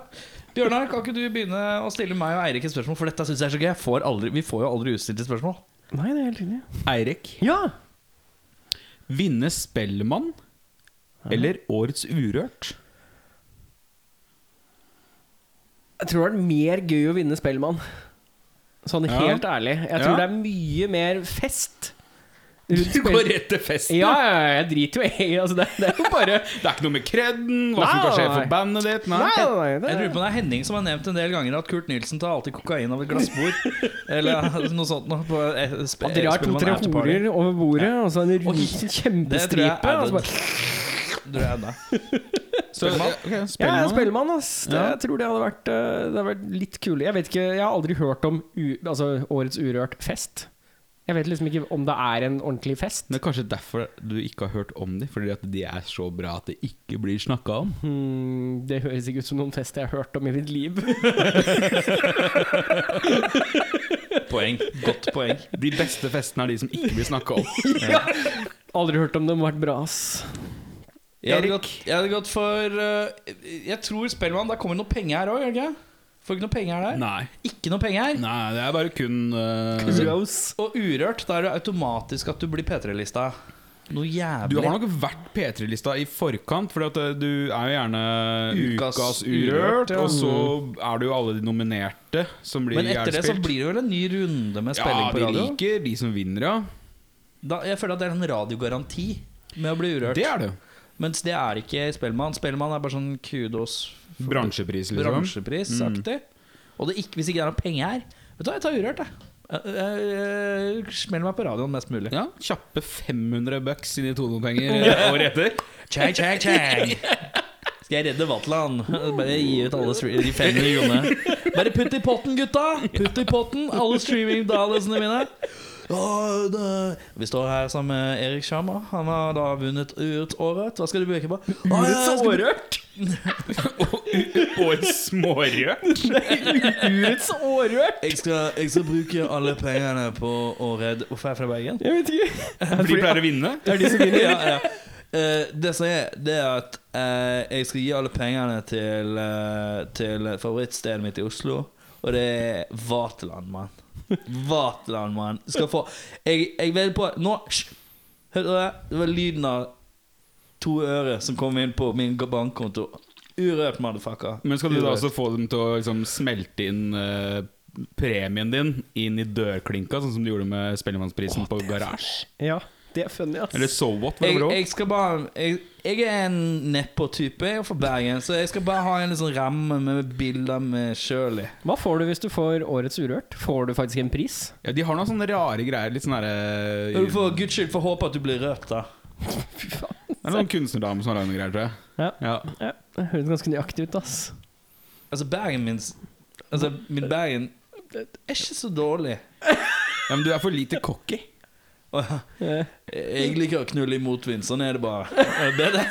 S3: Bjørnar, kan ikke du begynne å stille meg og Eirik et spørsmål? For dette syns jeg er så gøy. Jeg får aldri, vi får jo aldri ustilte spørsmål.
S1: [laughs] Nei, det er helt riktig.
S4: Eirik.
S1: Ja.
S4: Vinne Spellemann eller Årets Urørt?
S1: Jeg tror det er mer gøy å vinne Spellemann. Sånn
S4: Ja.
S1: helt ærlig. Jeg tror
S4: Ja.
S1: det er mye mer fest. rundt
S4: Du går
S1: Spell-
S4: rett til festen!
S1: Ja, ja, ja, jeg driter jo i [laughs] altså, det. Det er jo bare
S4: Det er ikke noe med kreden, hva som
S1: Nei,
S4: kan skje
S1: nei.
S4: for bandet ditt. Nei.
S1: Nei, nei, nei,
S3: Jeg
S1: det-
S3: lurer på det er Henning som har nevnt en del ganger at Kurt Nilsen tar alltid kokain av et
S4: [laughs]
S3: glassbord. Eller noe sånt noe. På eh, sp-
S1: At dere har
S3: Spellemann
S1: to-tre
S3: After Party.
S1: horer over bordet, og så en rus, en
S3: Det tror jeg
S1: kjempestripe.
S3: er
S1: og så bare,
S3: Du er det.
S4: Så,
S3: Spellemann?
S4: ja, ok,
S1: Ja,
S4: Spellemann.
S1: Spellemann, ass. Det,
S4: Ja.
S1: Jeg tror det hadde vært, eh, det hadde vært litt kul Jeg vet ikke, jeg har aldri hørt om u, altså, årets Urørt fest. Jeg vet liksom ikke om det er en ordentlig fest.
S4: Det er kanskje derfor du ikke har hørt om dem, fordi at de er så bra at det ikke blir snakka om.
S1: Hmm, det høres ikke ut som noen fest jeg har hørt om i mitt liv. [laughs]
S3: Poeng. Godt poeng.
S4: De beste festene er de som ikke blir snakka om.
S3: [laughs]
S1: Aldri hørt om dem vært bra, ass.
S3: Jeg hadde
S1: Erik?
S3: gått, jeg hadde gått for eh, Jeg tror Spellemann Der kommer det noe penger her òg, gjør det ikke? Får ikke noe penger der?
S4: Nei,
S3: Ikke noe penger her.
S4: nei det er bare kun eh,
S1: Gross.
S3: Og urørt, da er det automatisk at du blir P3-lista. Noe jævlig.
S4: Du har nok vært P3-lista i forkant, for du er jo gjerne
S3: Ukas
S4: Ukas,
S3: Urørt,
S4: Urørt,
S3: ja. Mm.
S4: og så er det jo alle de nominerte som blir
S3: Men etter det så
S4: jævlig spilt.
S3: blir det vel en ny runde med spilling
S4: ja,
S3: på radio?
S4: de liker de som vinner, ja.
S3: Da, jeg føler at det er en radiogaranti med å bli urørt.
S4: Det er det.
S3: Mens det er ikke Spellemann. Spellemann er bare sånn kudos for-
S4: Bransjepris, liksom.
S3: bransjeprisaktig. Og det ikke, hvis ikke det er noe penger her Vet du hva, jeg tar urørt, jeg. Jeg- jeg- jeg Smell meg på radioen mest mulig.
S4: Ja, [laughs] Kjappe 500 bucks inn i tonepenger eh, året etter.
S3: Chang, chang, [laughs] chang. Skal jeg redde Vatland? Bare gi ut alle stre- de 500 kronene. Bare putt i potten, gutta! Putt i potten, alle streaming-dallasene mine. Ja, det- Vi står her sammen med Erik Sjarma. Han har da vunnet Urørt Årørt. Hva skal du bruke på? Å, ja, jeg skal-
S1: Årørt?
S4: [laughs] Årets smårørt.
S3: [laughs]
S1: Urets årørt?
S3: Jeg skal, jeg skal bruke alle pengene på å redde Hvorfor er jeg fra Bergen?
S1: Jeg vet ikke. [laughs]
S4: For de pleier å vinne.
S1: Det er de som vinner.
S3: [laughs] Ja, ja. Eh, det som er, det er at eh, jeg skal gi alle pengene til, eh, til favorittstedet mitt i Oslo, og det er Vaterland, mann. Vaterland, mann. Skal få Jeg, jeg vet på Nå hysj! Hørte du det? Det var lyden av to øre som kom inn på min bankkonto. Urørt, motherfucker.
S4: Men skal du da
S3: Urørt.
S4: også få dem til å liksom smelte inn eh, premien din inn i dørklinka, sånn som de gjorde med Spellemannsprisen på Garasje?
S1: Ja, det er funny, ass.
S4: Eller So What? var det
S3: jeg,
S4: vel også?
S3: jeg skal bare Jeg, jeg er en nedpå-type. Jeg er fra Bergen, så jeg skal bare ha en litt sånn ramme med bilder med sjøl i.
S1: Hva får du hvis du får Årets Urørt? Får du faktisk en pris?
S4: Ja, de har noen sånne rare greier. Litt sånn derre
S3: Men For guds skyld, får håpe at du blir røpt, da.
S4: Det er noen kunstnerdame som har lagd noen greier, tror jeg.
S1: Ja.
S4: Ja.
S1: Ja, det høres ganske nøyaktig ut, ass.
S3: Altså, Bergen min Altså, min Bergen er ikke så dårlig.
S4: ja, Men du er for lite cocky.
S3: Og
S1: Eh,
S3: Jeg liker å knulle i motvind. Sånn er det bare.
S1: [laughs]
S3: Er det bedre?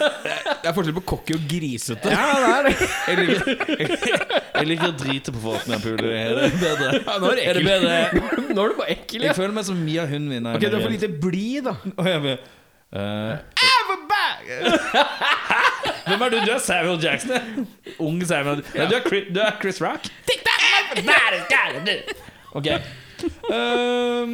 S4: Det er forskjell på cocky og grisete. [laughs]
S1: Ja, det er det.
S3: Jeg liker, jeg, jeg liker [laughs] å drite på folk når jeg puler. Er det bedre?
S4: nå er det
S3: er det bedre?
S1: Nå er du bare ekkel,
S3: Jeg føler meg som Mia Hundvin.
S4: Ok, Du er for lite blid, da.
S3: eh, [laughs] Hvem er du? Du er Samuel Jackson? Unge Samuel Nei, du, er Chris, du er Chris Rock? Ok. Ehm,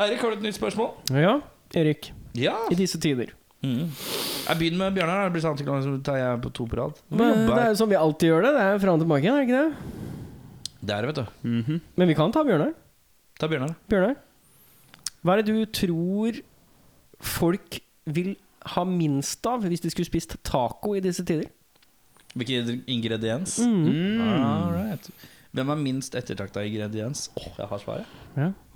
S3: Eirik, har du et nytt spørsmål?
S1: Ja, Erik.
S3: Ja.
S1: I disse tider.
S3: Jeg begynner med Bjørnar. Det blir sant ikke så tar jeg på to på rad. Vi
S1: Men, det
S3: jobber
S1: er
S3: her.
S1: jo som vi alltid gjør det. Det er jo fram og tilbake igjen, er det ikke det?
S3: Der, vet du.
S1: Men vi kan ta Bjørnar.
S3: Ta Bjørnar.
S1: Bjørnar, hva er det du tror folk vil ha minst av hvis de skulle spist taco i disse tider?
S3: Hvilken ingrediens? All right. Hvem er minst ettertrakta ingrediens? Åh, jeg har svaret.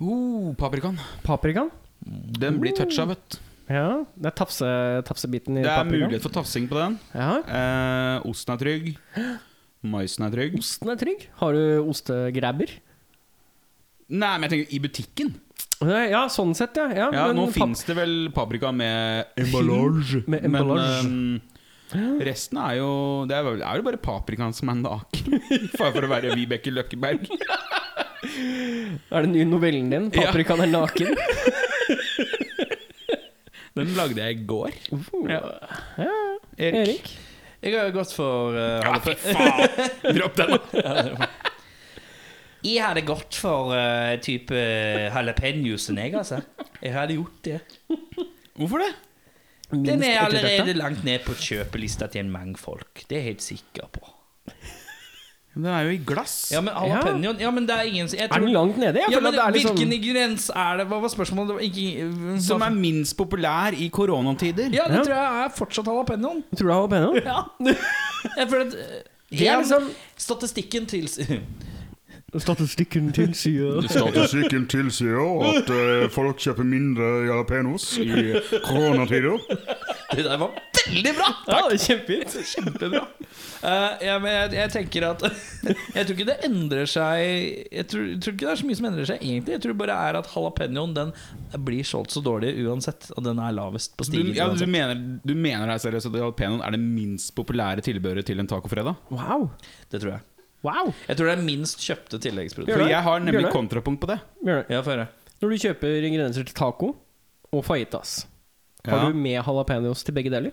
S4: Oh, paprikaen.
S1: Paprikaen?
S4: Den blir toucha, vet du.
S1: Ja, det er tafse, tafsebiten i
S4: Det er
S1: paprikaen.
S4: mulighet for tafsing på den.
S1: Ja,
S4: Eh, osten er trygg. Maisen er trygg.
S1: Osten er trygg. Har du ostegrabber?
S4: Nei, men jeg tenker i butikken.
S1: Ja, sånn sett, ja. ja,
S4: Ja,
S1: men
S4: Nå
S1: pap-
S4: fins det vel paprika med embalage.
S1: Med embalage.
S4: Men ehm, resten er jo Det er vel- er jo bare paprikaen som er naken. [laughs] Bare for å være Vibeke Løkkeberg.
S1: Er det den nye novellen din?
S4: Ja.
S1: Paprikaen er
S3: [laughs]
S1: naken?
S4: Den lagde jeg i går.
S1: ja.
S4: Erik.
S1: Erik?
S3: Jeg har gått for eh,
S4: Ja, fy faen! Dropp
S3: [laughs]
S4: den, da.
S3: Jeg hadde gått for eh, type jalapeñosen, jeg, altså. Jeg hadde gjort det.
S4: Hvorfor det?
S1: Minst
S3: Den er allerede
S1: ettertraktet.
S3: langt ned på kjøpelista til en mange folk. Det er jeg helt sikker på.
S4: Men den er jo i glass.
S3: Ja, men jalapeno ja. men det er ingen jeg
S1: Er den langt nede? Jeg
S3: ja,
S1: føler at
S3: men
S1: det er liksom
S3: Hvilken ingrediens er det? Hva var spørsmålet? Det var ikke,
S4: Som er minst populær i koronatider.
S3: ja, det
S1: Ja.
S3: tror jeg er fortsatt jalapeñoen.
S1: Tror du det er jalapeno?
S3: Ja. Jeg føler at eh,
S1: Det er
S3: igjen,
S1: liksom
S3: Statistikken tilsier
S1: Statistikken tilsier
S7: Statistikken tilsier jo at eh, folk kjøper mindre jalapeños
S4: [laughs]
S7: i koronatider.
S3: [laughs] Det der var veldig bra!
S1: Ja, det er kjempefint.
S3: [laughs] Kjempebra. Eh, ja, men jeg, jeg tenker at [laughs] Jeg tror ikke det endrer seg jeg tror, jeg tror ikke det er så mye som endrer seg, egentlig. Jeg tror bare er at jalapeñoen Den blir solgt så dårlig uansett, og den er lavest på
S4: Du,
S3: stigen.
S4: ja, du,
S7: altså.
S3: uansett.
S4: mener, du mener her seriøst at jalapenoen er det minst populære tilbehøret til en tacofredag?
S1: Wow.
S3: Det tror jeg.
S1: wow.
S3: Jeg tror det er minst kjøpte tilleggsprodukt.
S1: Gjør
S4: For
S1: det.
S4: jeg har
S1: Gjør
S4: nemlig
S1: det.
S4: kontrapunkt på det.
S1: Bjørnar,
S3: Ja, få høre.
S1: Når du kjøper ingredienser til taco og fajitas, har
S4: Ja.
S1: du med jalapeños til begge deler?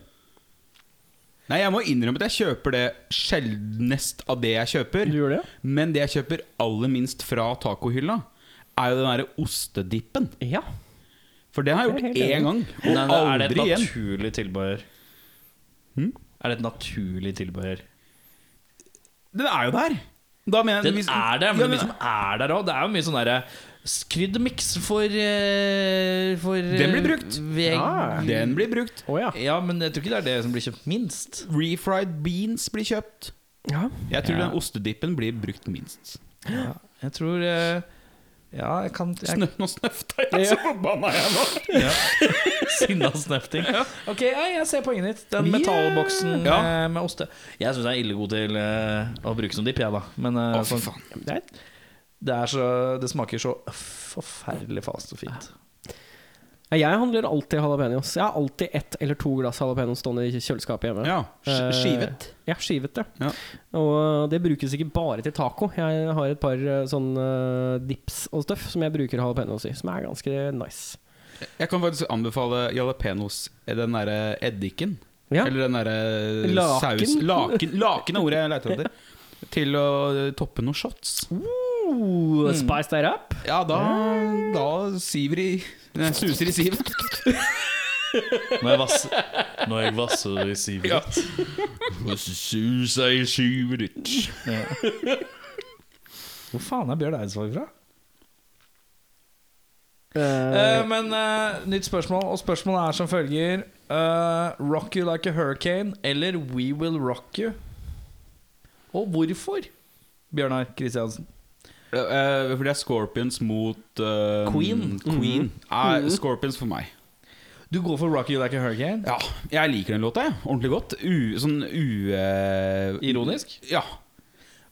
S4: Nei, jeg må innrømme at jeg kjøper det sjeldnest av det jeg kjøper.
S1: Du gjør det?
S4: Men det jeg kjøper aller minst fra tacohylla, er jo den derre ostedippen.
S1: Ja.
S4: For det har jeg
S1: Det er
S4: gjort
S1: helt
S4: én gang, og
S3: Nei, nei, er det et
S4: aldri igjen.
S3: naturlig tilbehør?
S4: Hm?
S3: Er det et naturlig tilbehør?
S4: Den er jo der! Da mener jeg-
S3: Den
S4: hvis-
S3: er der, men
S4: Ja,
S3: det liksom er der òg. Det er jo mye sånn derre skryddermiks for, eh, for eh,
S4: Den blir brukt.
S3: Veg.
S1: Ja.
S3: Ja.
S4: Den blir brukt.
S1: Å ja.
S3: men jeg tror ikke det er det som blir kjøpt minst.
S4: Refried beans blir kjøpt.
S1: ja.
S4: Jeg tror
S3: Ja.
S4: den ostedippen blir brukt minst.
S3: Jeg tror eh, Ja, jeg kan jeg,
S4: Snø, nå snøfta jeg, altså. så forbanna jeg
S3: [laughs]
S4: nå!
S3: Sinna snøfting. Ok, ja, jeg ser poenget ditt. Den
S4: Yeah.
S3: metallboksen
S4: Ja.
S3: eh, med oste. Jeg syns jeg er ille god til eh, å bruke som dipp, jeg, da. Men eh,
S4: Å, fy
S3: sånn,
S4: faen.
S1: Det er
S3: det, er så, det smaker så forferdelig fast og fint.
S1: Ja, Jeg handler alltid jalapeños. Jeg har alltid ett eller to glass jalapeños stående i kjøleskapet hjemme.
S4: Ja, sk-
S1: Eh,
S4: skivet.
S1: Ja, skivet, ja.
S4: Ja.
S1: Og eh, det brukes ikke bare til taco. Jeg har et par eh, sånne eh, dips og støff som jeg bruker jalapeños i, som er ganske nice.
S4: Jeg kan faktisk anbefale jalapeños, den derre eddiken.
S1: Ja.
S4: Eller den derre
S1: Laken.
S4: saus Laken. Laken er ordet jeg leter etter. Til å toppe noen shots.
S1: Oh,
S4: Mm.
S1: spice that up.
S4: Ja, da, da siver i nei, Suser i sivet.
S3: Når jeg vasser, når jeg vasser i sivet ditt.
S4: Suser i sivet ditt.
S3: Hvor faen er Bjørn Eidsvåg fra?
S1: Eh,
S3: men eh, nytt spørsmål, og spørsmålet er som følger eh, Rock you like a hurricane eller We will rock you? Og hvorfor, Bjørnar Kristiansen?
S4: Eh, fordi det er Scorpions mot eh,
S3: Queen.
S4: Queen. Er Scorpions for meg.
S3: Du går for Rock you like a hurricane?
S4: Ja, jeg liker den låta jeg. ordentlig godt. U, sånn u... eh,
S3: Ironisk?
S4: Ja.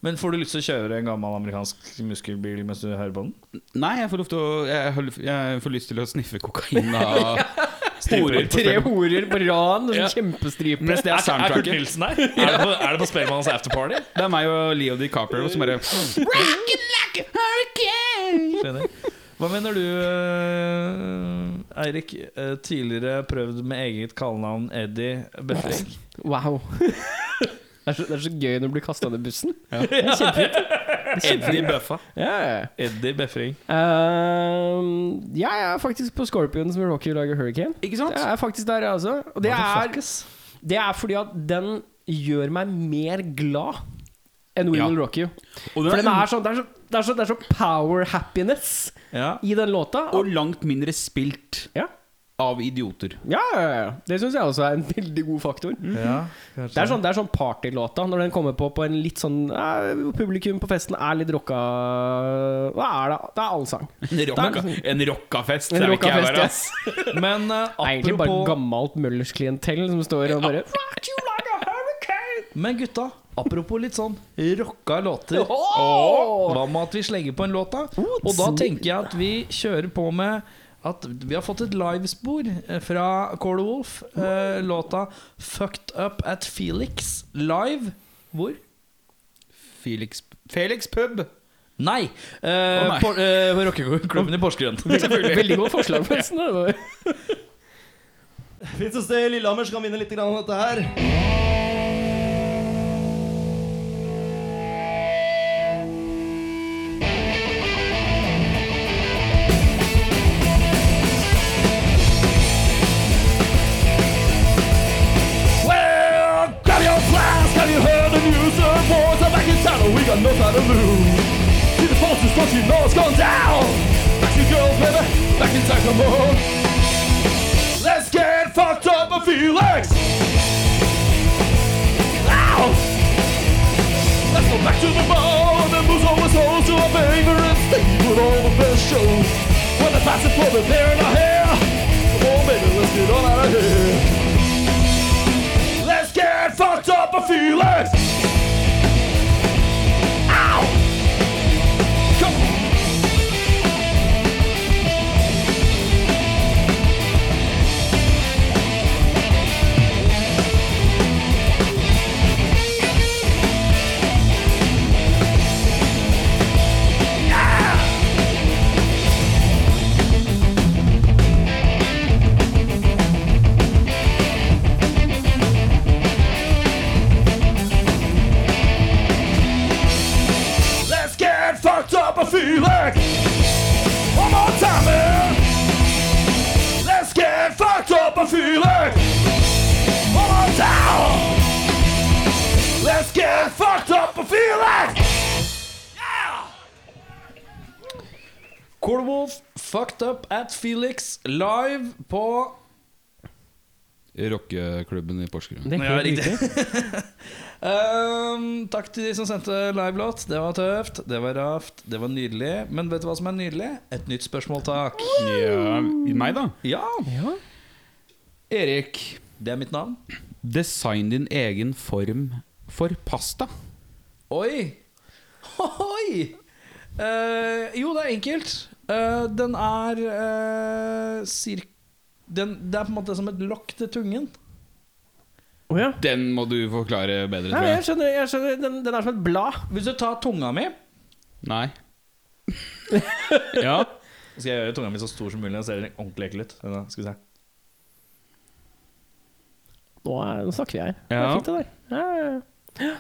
S3: Men får du lyst til å kjøre en gammel amerikansk muskelbil mens du hører på den?
S4: Nei, jeg får, lov til å, jeg, har- jeg får lyst til å sniffe [laughs] kokain av
S3: Horer på
S1: tre horer på rad, en
S3: Ja.
S1: sånn kjempestripe.
S4: Mens det er soundtracket.
S3: Nilsen [laughs] her? Er det på, er det på Spellemannens afterparty?
S4: Det er meg og Leo DiCaprio som [laughs] bare
S3: Skjønner. Hva mener du, eh, Eirik? Eh, tidligere prøvd med eget kallenavn Eddie Befring.
S1: Wow. [laughs] Det er, så, det er så gøy når du blir kasta under bussen. Det er kjempefint. Det er
S3: [laughs] Eddie
S1: kjempefint.
S3: Bøffa.
S1: Ja, ja, ja.
S3: Eddie Befring.
S1: Ehm, ja, jeg er faktisk på Scorpions med Rocky lager Hurricane.
S4: Ikke
S1: Jeg er faktisk der, jeg også. Og det er, det er fordi at den gjør meg mer glad enn We
S4: Ja.
S1: Will Rock You.
S4: Og
S1: For
S4: den
S1: den
S4: er,
S1: er sånn, det, er så, det, er så, det er så power happiness
S3: Ja.
S1: i den låta.
S4: og langt mindre spilt
S1: Ja,
S4: av idioter.
S1: ja, ja, ja. Det syns jeg også er en [laughs] veldig god faktor.
S3: Mm. ja
S1: Det er sånn, det er sånn partylåta når den kommer på på en litt sånn eh, Publikum på festen er litt rocka Hva er det? Det er allsang.
S4: [laughs] En, rocka, en rockafest.
S1: En
S4: det er ikke jeg
S1: rockafest,
S4: bare,
S1: ja.
S4: ass.
S3: Men
S1: [laughs]
S3: eh,
S1: Det er egentlig bare
S3: apropos
S1: gammelt Møllers klientell som står og bare
S3: [laughs] Men gutta, apropos litt sånn rocka låter.
S1: Åh!
S3: Hva med at vi slenger på en låt, da? Og da tenker jeg at vi kjører på med at vi har fått et livespor eh, fra Corder Wolf. Eh, låta 'Fucked Up At Felix' live. Hvor?
S4: Felix, Felix pub.
S3: Nei! Eh,
S4: nei.
S3: Por- eh, Rockeklubben i Porsgrunn. [laughs]
S1: Veldig godt forslag, forresten. Det var-
S8: Fint å se Lillehammer som kan vinne litt grann av dette her.
S5: Fucked Backstreet Boys gone down. Backstreet Girls, baby, back in time, come on. Let's get fucked up and Felix. Ow! Let's go back to the bar and move our souls to our favorite stage with all the best shows. When the pass is for the hair in our hair. Come on, baby, let's get on out of here. Let's get fucked up and Felix. Ow! Come on. Let's get fucked up and feel it. One more time, man. Let's get fucked up and feel it. One more time. Let's get fucked up and feel it. Yeah.
S3: Cornwolf, Fucked Up at Felix, live på
S4: Rockeklubben i Porsgrunn.
S1: Det er
S3: Ja,
S1: helt
S3: riktig.
S1: riktig.
S3: Ehm, Takk til de som sendte livelåt. Det var tøft, det var raft, det var nydelig. Men vet du hva som er nydelig? Et nytt spørsmål, takk.
S4: Ja, meg, da.
S3: Ja!
S1: Ja.
S4: Erik,
S3: Det er mitt navn.
S4: design din egen form for pasta.
S3: Oi! Oi! Eh, jo, det er enkelt. Eh, den er eh, cirk... Den, det er på en måte som et lokk til tungen.
S1: Å ja.
S4: Den må du forklare bedre,
S1: Nei,
S4: tror
S1: jeg
S4: jeg.
S1: skjønner, jeg skjønner. Den, den er som et blad.
S3: Hvis du tar tunga mi
S4: Nei. [laughs] Ja.
S3: Skal jeg gjøre tunga mi så stor som mulig? Den ser ordentlig ekkel ut. Vent da, Skal vi se.
S1: Nå, er, nå snakker vi her. Det
S4: Ja.
S1: er fint, det der. Ja, ja, ja.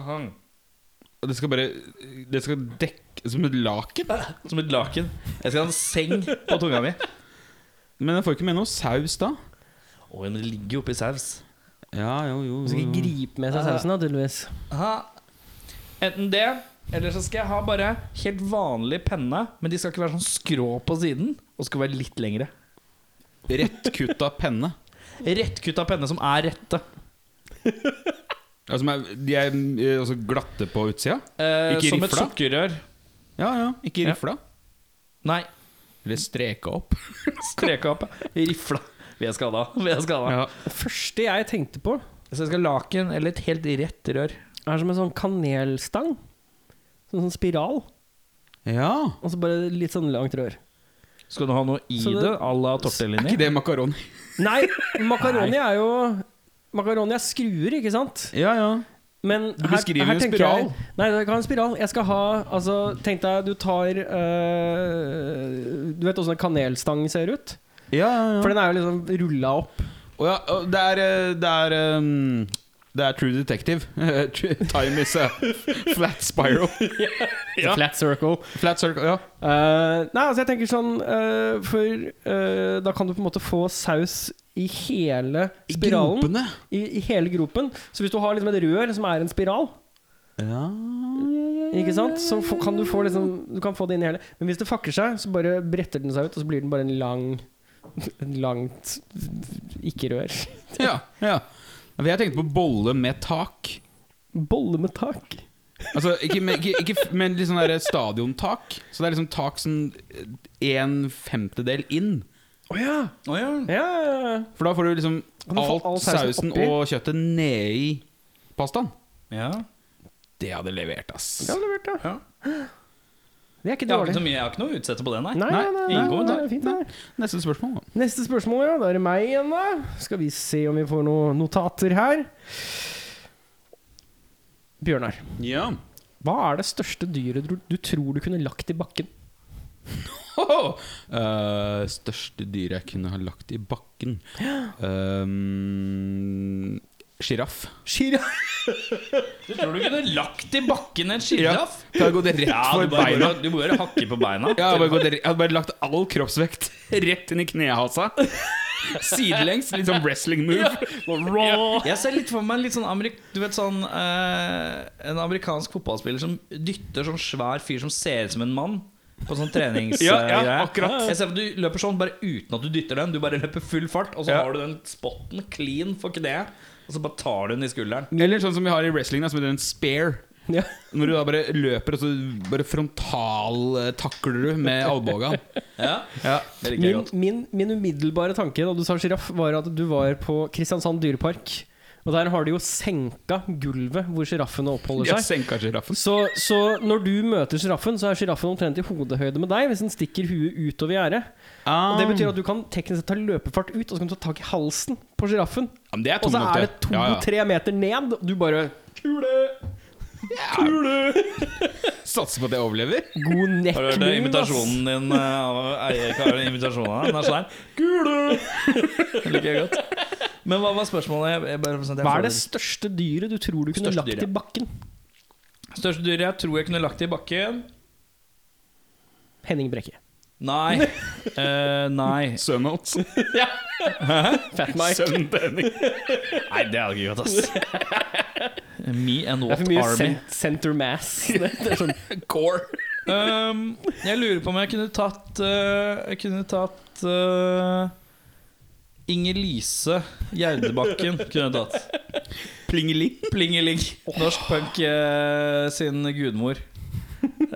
S4: Det skal bare Det skal dekke som et laken.
S3: Som et laken. Jeg skal ha en seng på tunga mi.
S4: Men jeg får ikke med noe saus da.
S3: Oi, men det ligger jo oppi saus.
S4: Ja, jo, jo,
S1: Du skal ikke gripe med seg sausen, da, tydeligvis.
S3: Ha. Enten det, eller så skal jeg ha bare helt vanlig penne. Men de skal ikke være sånn skrå på siden, og skal være litt lengre.
S4: Rett kutt av penne.
S3: Rettkutta penne som er rette.
S4: Altså, men de er eh, altså glatte på utsida?
S3: Eh,
S4: Ikke
S3: som et
S4: rifla?
S3: sukkerrør.
S4: Ja, ja. Ikke
S3: Ja.
S4: rifla?
S3: Nei,
S4: Eller streka opp?
S3: streka opp. Rifla. Vi er skada. Vi er skada.
S4: Ja.
S1: Det første jeg tenkte på,
S3: Så jeg skal ha laken eller et helt rett rør.
S1: er som en sånn kanelstang. Sånn, sånn spiral.
S4: ja.
S1: Og så bare litt sånn langt rør.
S3: Skal du ha noe i
S1: Så det-
S3: det à la
S4: Er ikke
S3: tortellini?
S4: det makaroni? [laughs]
S1: Nei, makaroni er jo Makaroni er skruer, ikke sant?
S4: Ja, ja.
S1: Men
S4: Du beskriver en
S1: tenker
S4: spiral.
S1: Jeg, nei, det kan være en spiral. Jeg skal ha Altså, tenk deg du tar øh, Du vet åssen en kanelstang ser ut?
S4: Ja, ja,
S1: For den er jo liksom rulla
S4: [laughs]
S1: opp.
S4: Å ja, å, det er eh, Det er, ehm, det er True Detective. [laughs] True- Time is a flat spiral.
S1: Flat circle.
S4: Flat circle, ja.
S1: Eh, nei, altså jeg tenker sånn eh, For eh, da kan du på en måte få saus i hele spiralen.
S4: Gropene.
S1: I, I hele gropen. Så hvis du har liksom et rør som er en spiral,
S4: Ja.
S1: Ikke sant? Så få- kan du få liksom Du kan få det inn i hele Men hvis det fakker seg, så bare bretter den seg ut, og så blir den bare en lang En langt ikke-rør.
S4: ja, ja. For Jeg tenkte på bolle med tak.
S1: Bolle med tak.
S4: Altså, ikke, men, ikke, ikke, men litt sånn der stadiontak. Så det er liksom tak som en femtedel inn.
S1: Å ja.
S3: Å ja.
S1: Ja, ja, ja.
S4: For da får du liksom
S1: Kan du få
S4: alt
S1: all sausen
S4: sausen
S1: oppi?
S4: og kjøttet nedi pastaen.
S3: ja.
S4: Det hadde levert, ass.
S1: Det har levert, ja.
S3: Ja.
S1: Det er ikke
S3: Jeg har ikke,
S1: dårlig.
S3: så mye, jeg har ikke noe å utsette på det, nei.
S1: Nei, nei, nei, nei,
S3: ingen
S1: nei,
S3: kommentar.
S1: det er fint, det.
S4: Neste spørsmål. da.
S1: Neste spørsmål, ja. Da er det meg igjen, da. Skal vi se om vi får noen notater her. Bjørnar,
S4: Ja.
S1: hva er det største dyret du, du tror du kunne lagt i bakken?
S4: Hoho! Eh, største dyret jeg kunne ha lagt i bakken
S1: [gasps]
S4: Ehm, Sjiraff.
S3: Du tror du kunne lagt i bakken en sjiraff?
S4: jeg hadde gått rett for beina.
S3: du må bare hakke på beina.
S4: [laughs] Jeg hadde, bare gått, re- jeg hadde bare lagt all kroppsvekt rett inn i knehasa. Sidelengs, litt sånn wrestling move.
S1: Raw.
S3: Jeg ser litt for meg litt sånn amerik Du vet sånn eh, En amerikansk fotballspiller som dytter sånn svær fyr som ser ut som en mann. På sånn
S1: [laughs]
S3: treningsgreie.
S4: Ja, ja, akkurat.
S3: Jeg ser at du løper sånn bare uten at du dytter den. Du bare løper full fart, og så har du den spotten clean for kneet. Og så bare tar du den i skulderen.
S4: Eller sånn som vi har i wrestling, da, som heter en spare.
S1: [laughs] Ja.
S4: Når du da bare løper og så bare frontaltakler du med albuene.
S3: Ja,
S4: Ja.
S3: det altså. liker jeg
S1: Min,
S3: godt.
S1: min, min umiddelbare tanke da du sa sjiraff, var at du var på Kristiansand dyrepark. Og der har de jo senka gulvet hvor sjiraffene oppholder
S4: Jeg
S1: seg.
S4: senka sjiraffen.
S1: Så, så når du møter sjiraffen, så er sjiraffen omtrent i hodehøyde med deg hvis den stikker huet utover gjerdet. Og
S3: Ah.
S1: Det betyr at du kan teknisk sett ta løpefart ut, og så kan du ta tak i halsen på sjiraffen.
S4: Ja, men det er
S1: Og
S4: tungt
S1: så
S4: nok,
S1: er det to-tre meter ned, og du bare
S4: Satser på at jeg overlever.
S1: God
S3: Har du hørt det?
S1: nekling, ass.
S3: invitasjonen din eh, av Eirik? Har du invitasjonen av den? er sånn her. Kule! Det liker jeg godt. Men hva var spørsmålet? Jeg, jeg bare, sånn at jeg
S1: Hva
S3: får
S1: er det største dyret du tror du kunne
S3: Største
S1: lagt
S3: dyret.
S1: i bakken?
S3: Største dyret jeg tror jeg kunne lagt i bakken?
S1: Henning Brekke. [laughs]
S3: Nei. Eh, nei.
S4: Sønnen hans.
S1: Fat Mike.
S4: Sønnen til Henning.
S3: Nei, det hadde ikke gått,
S1: [laughs]
S3: ass. Me and
S1: Det er
S3: what
S1: for mye
S3: army?
S1: cent center mass. [laughs] Det, det er sånn
S4: Core.
S3: Um, jeg lurer på om jeg kunne tatt eh, Jeg kunne tatt eh, Inger-Lise Gjerdebakken kunne jeg tatt.
S4: Plingeling.
S3: Plingeling. Norsk punk eh, sin gudmor.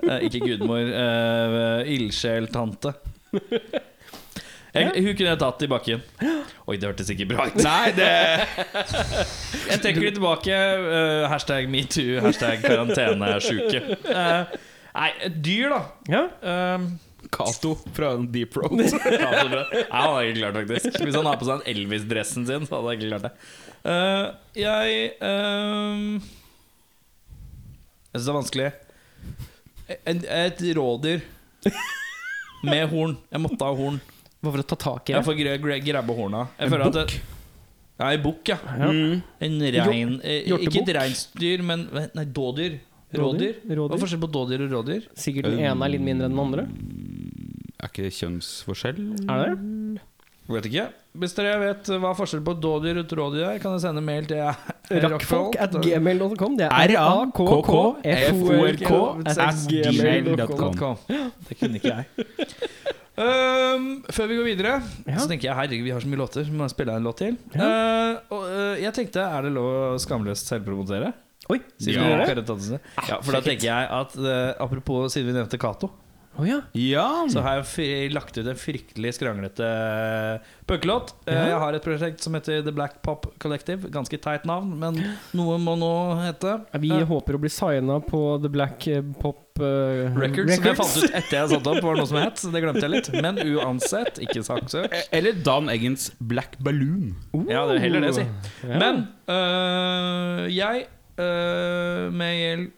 S3: Eh, ikke gudmor, uh, ildsjeltante. Jeg, hun kunne jeg tatt i bakken. Oi, det hørtes ikke bra ut.
S4: Nei, det
S3: Jeg trekker det tilbake. eh, hashtag metoo, hashtag karantenesjuke. Eh, nei, et dyr, da.
S1: Ja.
S3: Um,
S4: Cato fra Deep Road.
S3: ja, så bra. Nei, han hadde ikke klart det, faktisk. Hvis han har på seg den Elvis-dressen sin, så hadde han ikke klart det. Eh, jeg ehm, Jeg syns det er vanskelig. Et, et rådyr med horn. Jeg måtte ha horn.
S1: Bare for å ta tak i
S3: Jeg
S1: det.
S3: får gre gre grabbe horna. Jeg føler at det- Ja, en bukk, ja.
S1: Mm.
S3: En rein eh,
S1: hjortebukk.
S3: Ikke et reinsdyr, men Nei, dådyr. Rådyr.
S1: Rådyr, rådyr.
S3: Hva er forskjellen på dådyr og rådyr?
S1: Sikkert den ene er litt mindre enn den andre.
S4: Er ikke det kjønnsforskjell?
S1: Er det det?
S3: Vet ikke. Hvis dere vet hva forskjellen på dådyr og rådyr er, kan dere sende mail til [laughs]
S1: Rakkfolk at gmail.com. Det er
S4: R-A-K-K-F-O-R-K at gmail.com.
S3: gmail.com. [laughs] Det kunne ikke jeg. Um, før vi går videre,
S1: Ja.
S3: så tenker jeg herregud, vi har så mye låter. Må jeg spille en låt til? Uh, og, uh, jeg tenkte, er det lov å skamløst selvpromotere?
S1: Oi,
S3: Siden
S4: Ja. Ah,
S3: vi har Kari Tottensen. ja, for da tenker jeg at uh, Apropos siden vi nevnte Cato,
S1: Å ja.
S4: Ja.
S3: så har jeg fri- lagt ut en fryktelig skranglete punkelåt. Uh,
S1: Ja.
S3: Jeg har et prosjekt som heter The Black Pop Collective. Ganske teit navn, men noe må nå hete.
S1: Vi
S3: Uh,
S1: håper å bli signa på The Black eh, Pop eh,
S3: Records, som jeg fant ut etter jeg satte opp, var noe som het. så Det glemte jeg litt. Men uansett, ikke saksøk.
S4: Eh, Eller Dan Eggens Black Balloon.
S3: Ja, det er heller det, si.
S1: Ja.
S3: Men øh, jeg, øh, med hjelp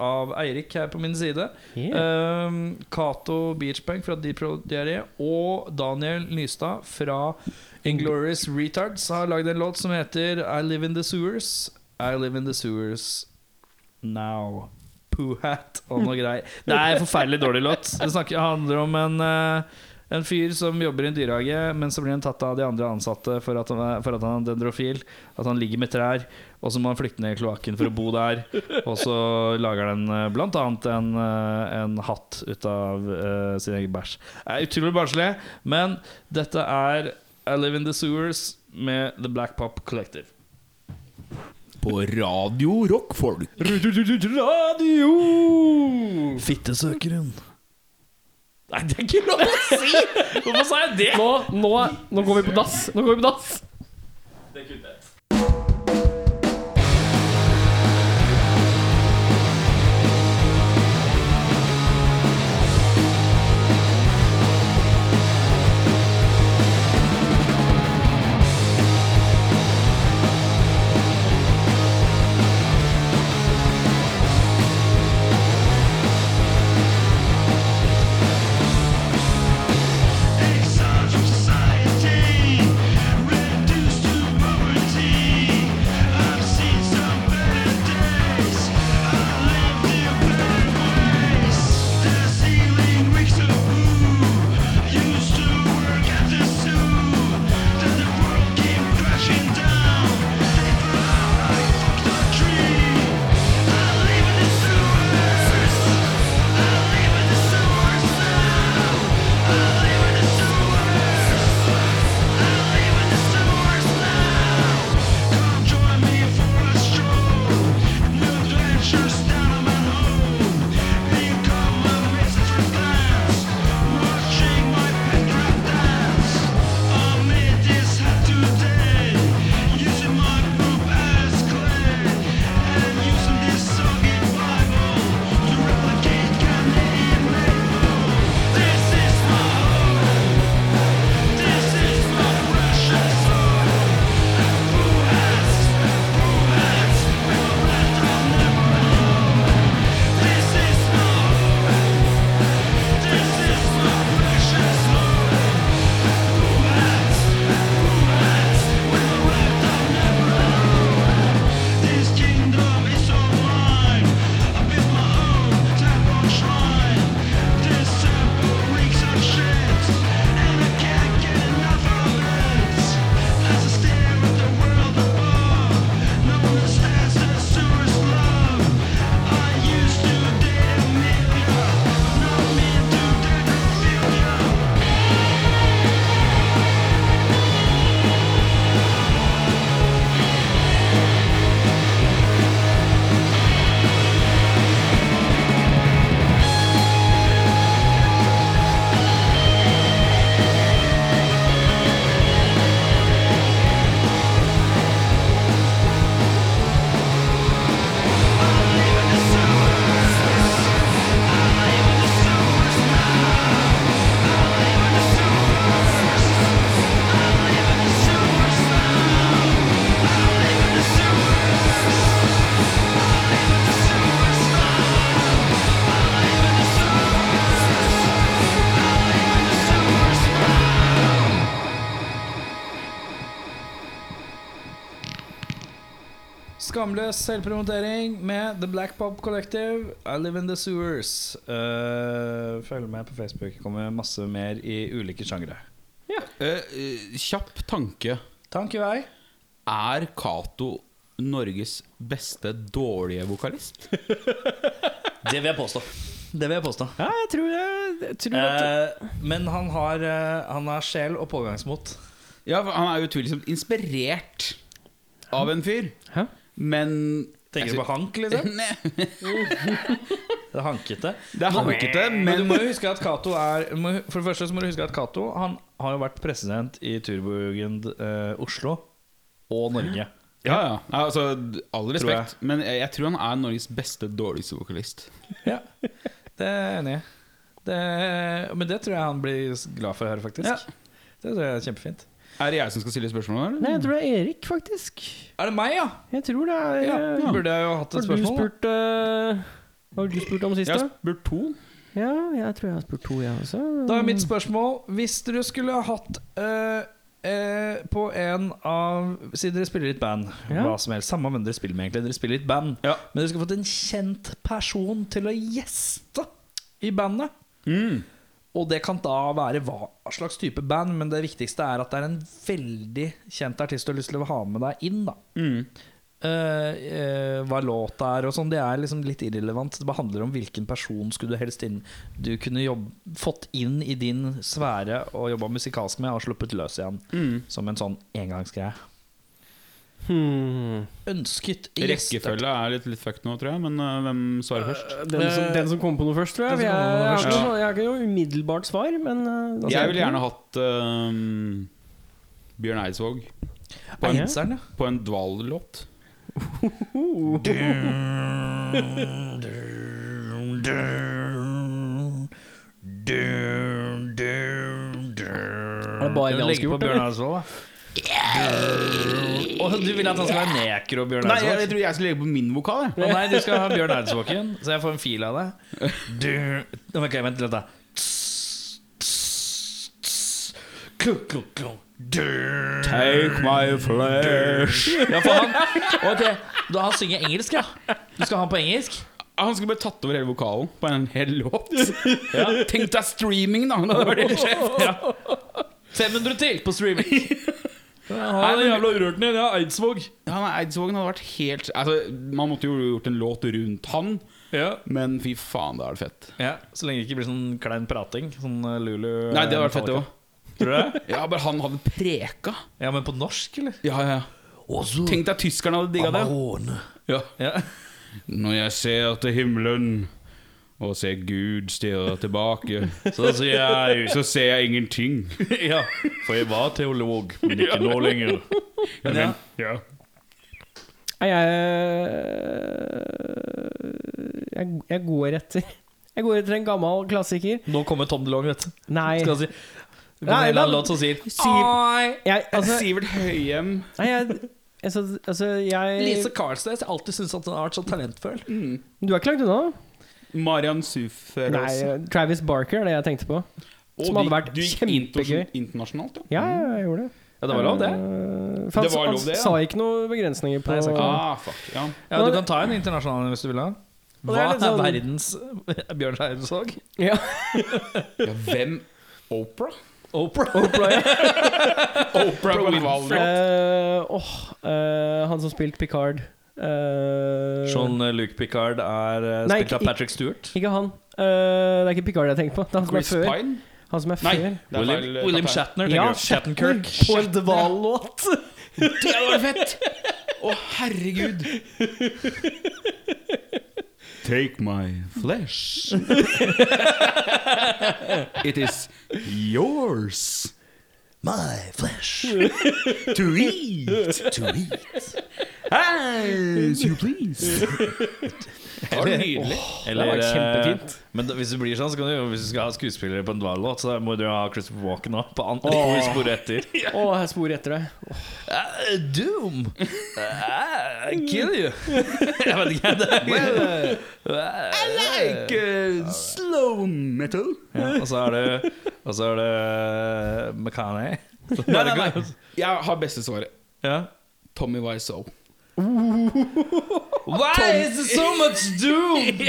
S3: av Eirik her på min side,
S1: yeah.
S3: øh, Cato Beachbank fra Deep Road Diaré og Daniel Nystad fra Inglorious Retards har lagd en låt som heter I Live In The Sewers. I Live In The Sewers Now. Poohat og noe greier. Det er en forferdelig dårlig låt. Det snakker, handler om en, eh, en fyr som jobber i en dyrehage, men så blir han tatt av de andre ansatte for at han er, for at han er dendrofil. At han ligger med trær, og så må han flykte ned i kloakken for å bo der. Og så lager han eh, blant annet en, eh, en hatt ut av eh, sin egen bæsj. Det er utrolig barnslig, men dette er I Live In The Sewers med The Black Pop Collective.
S4: På Radio Rock, folk.
S1: Radio!
S3: Fittesøkeren. Nei, det er ikke lov å si! Hvorfor sa jeg det?
S1: Nå, nå, nå går vi på dass! Nå går vi på dass!
S5: Society reduced to poverty.
S3: Skamløs selvpromotering med The Black Pop Collective, I Live in the Sewers. Eh, følg med på Facebook. Det Kommer masse mer i ulike sjangre.
S4: Eh, eh, kjapp tanke.
S3: Takk i vei.
S4: Er Cato Norges beste dårlige vokalist?
S3: Det vil jeg påstå. Det vil jeg påstå.
S1: Ja, jeg tror, jeg, jeg tror at
S3: Eh, men han har, eh, han har sjel og pågangsmot.
S4: Ja, for han er jo utvilsomt inspirert av en fyr.
S1: Hæ?
S4: Men
S3: Tenker du på Hank, liksom?
S4: [laughs] Nei,
S3: [laughs] Det er hankete.
S4: Det er hankete,
S3: Men du
S4: men
S3: [laughs] må jo huske at Cato er du må- For det første så må du huske at Cato Han har jo vært president i Turbogund eh, Oslo og Norge.
S4: Ja, ja. Altså, all
S3: Tror jeg.
S4: respekt. Men jeg, jeg tror han er Norges beste dårligste vokalist.
S3: Ja, [laughs] det er jeg enig i. Det- Men det tror jeg han blir s- glad for å høre, faktisk.
S4: Ja.
S3: Det tror jeg er kjempefint.
S4: Er det jeg som skal stille spørsmål, eller?
S1: Nei, jeg tror det er Erik, faktisk.
S3: Er det meg, ja?
S1: Jeg tror det er
S3: Ja,
S1: eh,
S3: Burde jeg jo hatt et
S1: Har du
S3: spørsmål? da?
S1: spurt eh, Hva har du spurt om sist,
S4: Jeg har
S1: da?
S4: spurt to.
S1: Ja, jeg tror jeg har spurt to, jeg også.
S3: Da er mitt spørsmål Hvis dere skulle ha hatt eh, eh, på en av Siden dere spiller i et band,
S1: Ja.
S3: hva som helst, samme hvem dere spiller med, egentlig. Dere spiller i et band,
S4: Ja.
S3: men dere skulle fått en kjent person til å gjeste i bandet.
S4: Mm.
S3: Og det kan da være hva slags type band, men det viktigste er at det er en veldig kjent artist du har lyst til å ha med deg inn. da
S4: Mm.
S3: Eh, eh, Hva låta er og sånn, det er liksom litt irrelevant. Det bare handler om hvilken person skulle du helst inn Du kunne jobb, fått inn i din sfære og jobba musikalsk med, og sluppet løs igjen.
S4: Mm.
S3: Som en sånn engangsgreie.
S1: Hmm.
S3: Ønsket gjester.
S4: Rekkefølge er litt, litt fucked nå, tror jeg. Men øh, hvem svarer først?
S1: Den,
S3: Eh,
S1: som, den som kom på noe først, tror jeg.
S3: Den som
S1: Jeg, jeg,
S3: kom på noe
S1: har
S3: først.
S1: ikke noe- jeg har ikke noe umiddelbart svar, men eh, da sier
S4: Jeg ville
S1: ikke
S4: gjerne
S1: noe.
S4: hatt øhm, Bjørn Eidsvåg på en,
S3: Eidseren, ja.
S4: på en dvallåt.
S1: Er det bare det han skulle gjort? eller?
S3: Og du vil at han skal være nekro, Bjørn
S4: Nei,
S3: Eidsvåg?
S4: jeg, jeg tror jeg skal legge på min vokal. Jeg.
S3: Å nei, du skal ha Bjørn Eidsvågen, så jeg får en fil av det. Du Nå, Ok, vent litt, da. Klunk, klunk, klunk. Du-
S4: Take my flesh
S3: Ja, for han Ok, da han synger engelsk, ja. Du skal ha han på engelsk?
S4: Han skulle bare tatt over hele vokalen på en hel
S3: [laughs]
S4: låt. Tenk deg streaming, da! Det var det skjer.
S3: 500 til på streaming! Han er jævla urørten igjen, [laughs] ja. Eidsvåg.
S4: Han er Eidsvågen hadde vært helt altså, Man måtte jo gjort en låt rundt han,
S3: Ja.
S4: men fy faen, da er det fett.
S3: ja. Så lenge det ikke blir sånn klein prating. Sånn eh, Lulu
S4: Nei, det hadde vært fett, det
S3: Metallica.
S4: òg.
S3: Tror du det?
S4: Ja, bare han hadde preka.
S3: Ja, men på norsk, eller?
S4: Ja, ja, ja. Tenk deg tyskerne hadde digga det. Ja.
S3: Ja.
S4: Når jeg ser til himmelen og ser Gud stirre tilbake,
S3: [laughs] Så sier jeg
S4: så ser jeg ingenting.
S3: [laughs] Ja, for jeg var teolog, men ikke nå lenger. Men ja,
S1: Nei, eh, jeg, jeg Jeg går etter [laughs] Jeg går etter en gammel klassiker.
S3: nå kommer Tom DeLong, vet du.
S1: Nei,
S3: Skal han si Det kommer
S1: Nei,
S3: en eller
S1: men-
S3: annen låt som sier
S1: Siv- jeg, altså,
S4: Sivert Høyem.
S1: nei, jeg Altså, altså jeg
S3: Lise Carlstad. Jeg har alltid syntes at hun har vært så talentfull.
S1: Du er ikke langt unna.
S4: Mm. Marian eh, altså. Sufer
S1: Nei, eh, Travis Barker er det jeg tenkte på. Som hadde vært kjempegøy.
S4: sånn- Internasjonalt, ja.
S1: Ja, ja, jeg gjorde det.
S3: Ja, det var lov, det.
S1: Eh, For han,
S4: Det var
S1: han
S4: lov, det, ja.
S1: sa ikke noen begrensninger på
S3: Nei, jeg sa ikke noe.
S4: Ah, fuck, ja.
S3: Ja, Du kan ta en internasjonal hvis du vil ha.
S1: Og det
S3: Hva
S1: er
S3: er
S1: litt sånn-
S3: verdens [laughs] Bjørn Eidsvåg?
S1: [laughs] Ja.
S4: ja. Hvem? Opera?
S3: Opera?
S4: [laughs] Opera Winfrey.
S1: Eh, åh, eh, han som spilte Picard Eh,
S3: Jean-Luc Picard er eh,
S1: Nei,
S3: spilt av
S1: ikke-
S3: Patrick Stewart.
S1: Ikke han. Eh, det er ikke Picard jeg tenker på. Det er han som er
S4: Chris
S1: før.
S4: Pine?
S1: Han som er
S4: Nei,
S1: før.
S4: [laughs] det er
S3: William,
S4: feil, eh,
S3: William
S4: feil.
S3: Shatner.
S1: Ja,
S3: tenker du. Shattenkirk.
S1: På en dvallåt.
S3: [laughs]
S4: Det hadde vært fett! Å, herregud. Take my
S3: [laughs]
S4: flesh. It is yours.
S8: My flesh.
S4: To eat. To eat. As you please. Det var nydelig.
S3: Eller,
S1: Det var kjempefint.
S3: eh, Men da- hvis det blir sånn, så kan du, jo- hvis du skal ha skuespillere på en dvallåt, så må du jo ha Christopher Walken òg. På andre
S1: Åh.
S3: spor [laughs] etter.
S1: Å, jeg sporer etter deg.
S3: Eh, doom! Eh, I kill you! [laughs] jeg vet ikke. Det er, eh,
S4: I like uh, slow metal.
S3: ja, og så er det Og så er det eh, [laughs] McCanny.
S4: Nei, nei, nei. Jeg har beste svaret.
S3: Ja.
S4: Tommy Wiseau.
S3: Why is there so much
S4: [laughs]
S3: doom?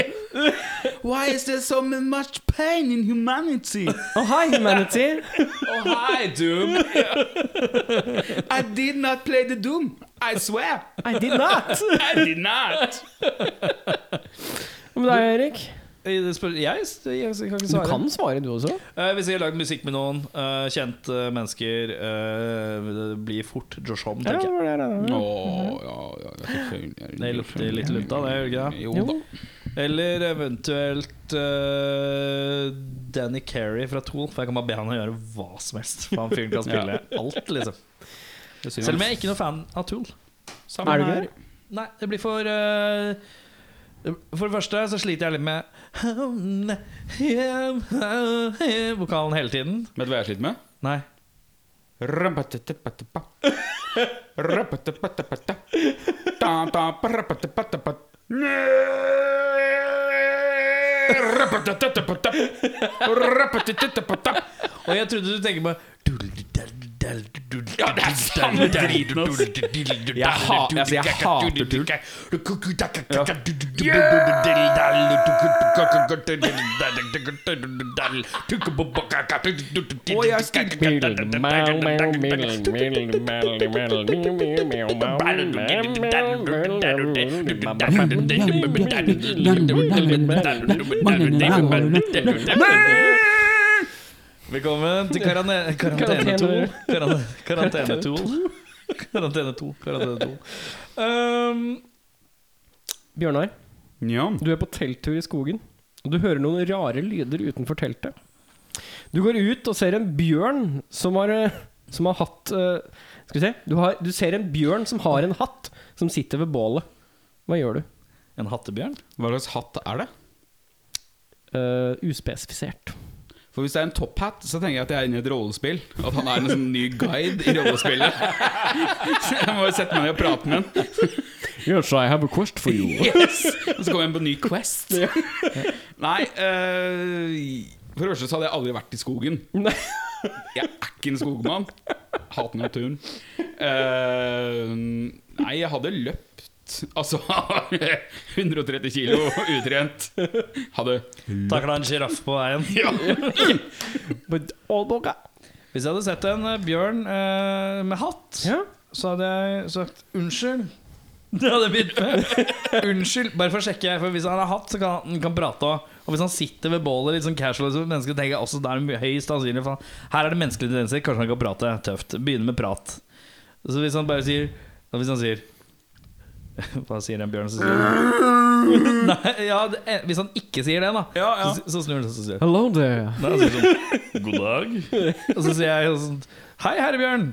S3: Why is there so much pain in humanity?
S1: Oh, hi, humanity!
S3: Oh, hi, Doom. [laughs] I did not play the Doom. I swear.
S1: I did
S4: [laughs]
S1: not!
S3: I did not.
S1: Men det er Erik.
S3: Jeg, Eh, jeg, jeg kan ikke
S1: Du
S3: svare.
S1: kan svare, du også.
S3: Eh, hvis jeg har lagd musikk med noen eh, kjente mennesker, eh, det blir fort Josh Homme,
S1: Ja, det
S3: tenker
S1: var
S3: jeg.
S1: det, det var det.
S4: Å, ja, ja, ja, selvfølgelig.
S3: Det lukter litt lukta, det gjør det ikke det?
S4: Jo da.
S3: Eller eventuelt eh, Danny Carey fra Tool. For jeg kan bare be han å gjøre hva som helst. For han fyren
S4: [laughs]
S3: kan spille alt, liksom. Selv om jeg er ikke noe fan av Tool.
S4: Samme
S1: Er du ikke
S4: her.
S1: det?
S3: Nei, det blir for eh, For det første så sliter jeg litt med vokalen hele tiden.
S4: Vet du hva jeg sliter med?
S3: Nei.
S4: Rampatatatatapa. Rapatatatapata. Ta-ta-parapatapatapa. Rapatatatapata. Rapatatatapata.
S3: Og jeg trodde du tenker på
S4: Ja, det er samme driten, ass. Jeg ha- altså, jeg hater tull.
S1: Og jeg stilte
S3: Velkommen til karane- karantene
S1: Karantene.
S3: 2. Karane- Karantene 2. Karantene 2. Karantene 2. Um,
S1: Bjørnar,
S4: Ja.
S1: du er på telttur i skogen. Og du hører noen rare lyder utenfor teltet. Du går ut og ser en bjørn som har, eh, som har hatt eh, Skal vi se. Du, har, du ser en bjørn som har en hatt, som sitter ved bålet. Hva gjør du?
S3: en hattebjørn?
S4: Hva slags hatt er det?
S1: Eh, uspesifisert.
S4: For hvis det er en top hat, så tenker jeg at jeg er inne i et rollespill. At han er en sånn ny guide i rollespillet. [laughs] Så jeg må jo sette meg ned og prate med han.
S1: Yes, I have a quest for you.
S4: [laughs] Yes! Og så kommer jeg på en ny quest. Nei eh, For det første så hadde jeg aldri vært i skogen.
S1: Nei.
S4: Jeg er ikke en skogmann. Hater naturen. Eh, nei, jeg hadde løpt. Altså [laughs] 130 kilo utrent. Hadde
S3: Takla en sjiraff på veien.
S1: But, oh, boga.
S3: Hvis jeg hadde sett en eh, bjørn eh, med hatt,
S1: ja.
S3: så hadde jeg sagt unnskyld. [laughs] Det hadde jeg begynt med. [laughs] Unnskyld. Bare for å sjekke, for hvis han har hatt, så kan han- han kan prate òg. Og hvis han sitter ved bålet litt sånn casual, så mennesker tenker også det er mye høyst sannsynlig for han- Her er det menneskelige tendenser. Kanskje han kan prate. Tøft. Begynne med prat. Så hvis han bare sier da Hvis han sier [laughs] Hva sier en bjørn? Så sier han [laughs] Nei, ja, det, eh, hvis han ikke sier det, da,
S4: ja.
S3: Så, så snur han seg og sier
S1: Hello there.
S3: Nei, han sier sånn God dag. [laughs] Og så sier jeg sånn Hei, herre Bjørn.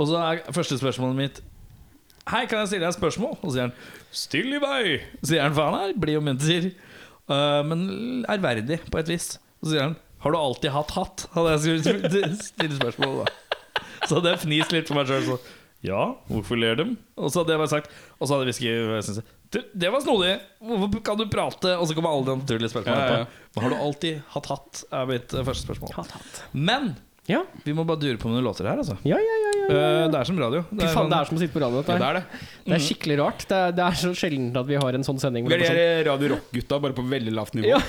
S3: Og så er første spørsmålet mitt Hei, kan jeg stille deg et spørsmål? Og så sier han Still i vei. Så sier han faen her, blid og munter. Eh, men ærverdig, på et vis. Og så sier han Har du alltid hatt hatt? Hadde jeg skulle [laughs] stille spørsmål da. Så hadde jeg fnist litt for meg sjøl. Så ja, hvorfor ler dem? Og så hadde jeg bare sagt Og så hadde jeg hvisket jeg synes, «Du, Det var snodig! Hvorfor kan du prate? Og så kommer alle de naturlige spørsmålene.
S4: Ja, ja, ja.
S3: etterpå. Har du alltid hatt hatt? er mitt eh, første spørsmål. Men
S1: Ja,
S3: vi må bare dure på med noen låter her, altså.
S1: ja, ja. ja, ja, ja.
S3: Eh, det er som radio.
S1: Fy faen,
S3: sånn-
S1: det er som å sitte på radio.
S4: Ja,
S1: Dette.
S4: det
S1: her.
S4: er det.
S1: Det er skikkelig rart. Det er, det er så sjelden at vi har en sånn sending.
S4: Vi
S1: Hvor det er
S4: er
S1: sånn,
S4: de Radio Rock-gutta, bare på veldig lavt nivå.
S1: Ja.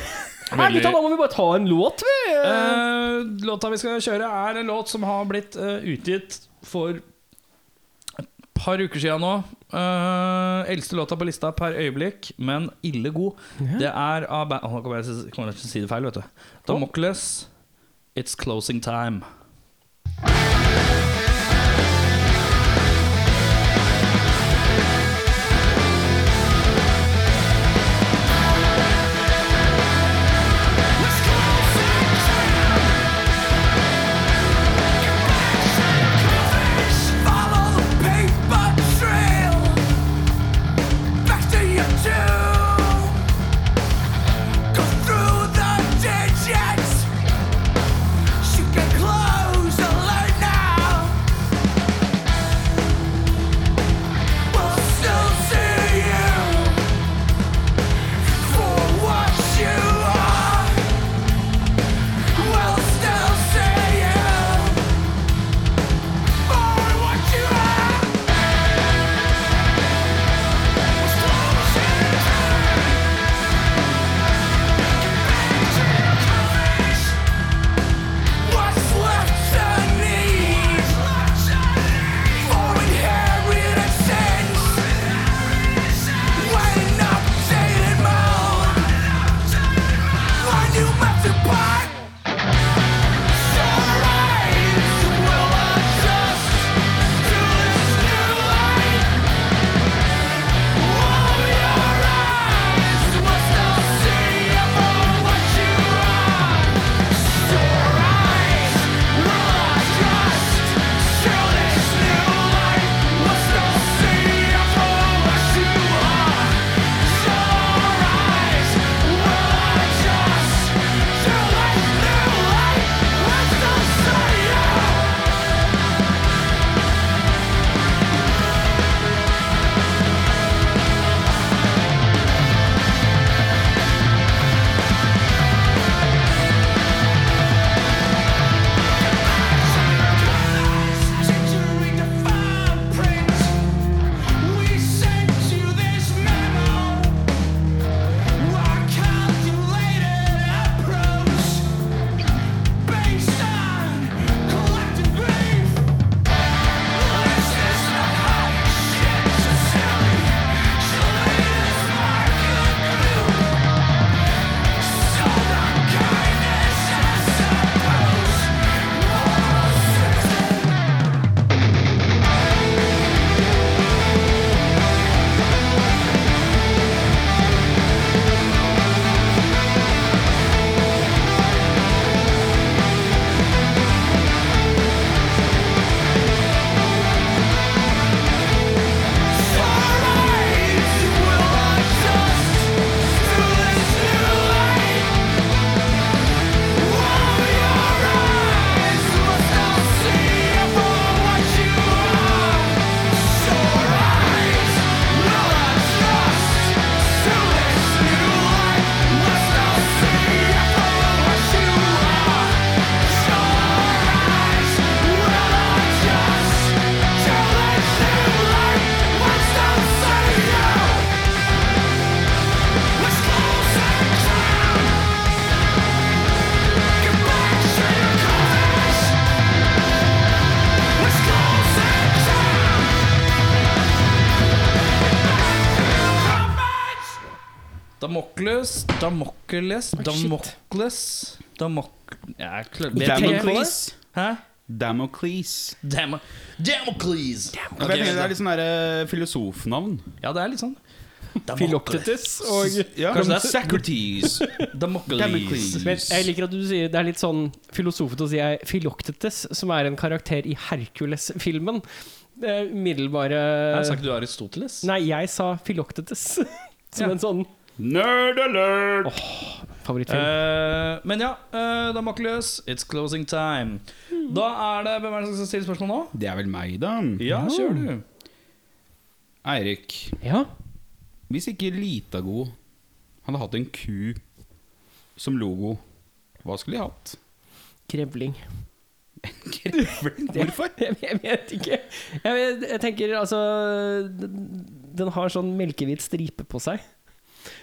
S1: Her, gutta, da må vi bare ta en låt, vi!
S3: Eh, låta vi skal kjøre, er en låt som har blitt eh, utgitt for et par uker siden nå. Eh, eldste låta på lista per øyeblikk, men ille god. Det er av ba- Å, Nå kommer jeg til å si- kommer jeg til å si det feil, vet du. Damocles, It's Closing Time.
S5: Follow the paper trail back to your tomb. Go through the digits. You can close the late
S3: Damokles, Damokles, Damokles Damok... Jeg klarer Vet ikke hva det er.
S4: Damocles.
S3: Hæ?
S4: Damocles.
S3: Dam Damokles!
S4: Jeg
S3: Ok,
S4: vet ikke, det
S3: da-
S4: er litt sånn der, eh, filosofnavn.
S3: Ja, det er litt sånn.
S1: Filoktetes og
S4: Ja.
S3: Kanskje det er
S4: Socrates.
S3: Damokles.
S4: Damocles.
S1: Men jeg liker at du sier Det er litt sånn filosofete å si jeg Filoktetes, som er en karakter i Hercules-filmen. Det er Middelbare
S3: Jeg sa ikke du Aristoteles?
S1: Nei, jeg sa Filoktetes. [laughs] Som
S3: Ja.
S1: en sånn
S4: Nerd alert!
S1: favorittfilm.
S3: Eh, men ja, uh, Damokles, it's closing time. Da er det Hvem er det som skal stille spørsmål nå?
S4: Det er vel meg, da.
S3: Ja, kjør du.
S4: Eirik,
S1: ja.
S4: hvis ikke Litago hadde hatt en ku som logo, hva skulle de hatt?
S1: Krevling. [laughs]
S4: Grevling? [laughs] Hvorfor?
S1: Jeg, jeg vet ikke. Jeg, vet, jeg tenker altså den, den har sånn melkehvit stripe på seg.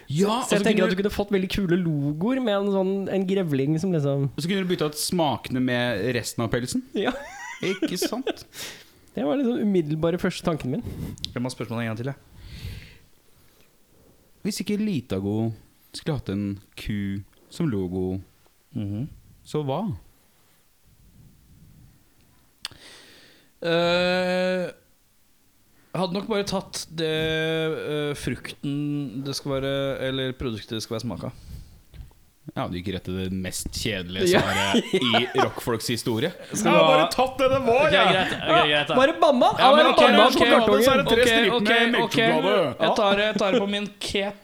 S4: Ja,
S3: altså,
S1: Så jeg tenker at du altså, kunne fått veldig kule logoer med en sånn en grevling som liksom
S4: så kunne du bytta ut smakene med resten av pelsen.
S1: Ja.
S4: Ikke sant?
S1: Det var liksom umiddelbare første tanken min.
S3: Jeg må ha spørsmålet en gang til. Jeg.
S4: Hvis ikke Litago skulle hatt en ku som logo, Mhm. så hva?
S3: Eh, jeg hadde nok bare tatt det eh, frukten det skal være Eller produktet det skal være smak av.
S4: Ja, du gikk rett til det mest kjedelige svaret [laughs] i rockfolks historie.
S3: Skal du ha-
S4: tatt det det var,
S3: Ok, greit, ok, greit da.
S1: Bare banna!
S3: Ja, men
S1: Bare
S3: ok,
S1: banna
S3: ok,
S1: på kartongen.
S4: så er det tre
S3: ok,
S4: striper
S3: ok,
S4: med
S3: ok.
S4: melkechokolade.
S3: Jeg tar, jeg tar det på min cap.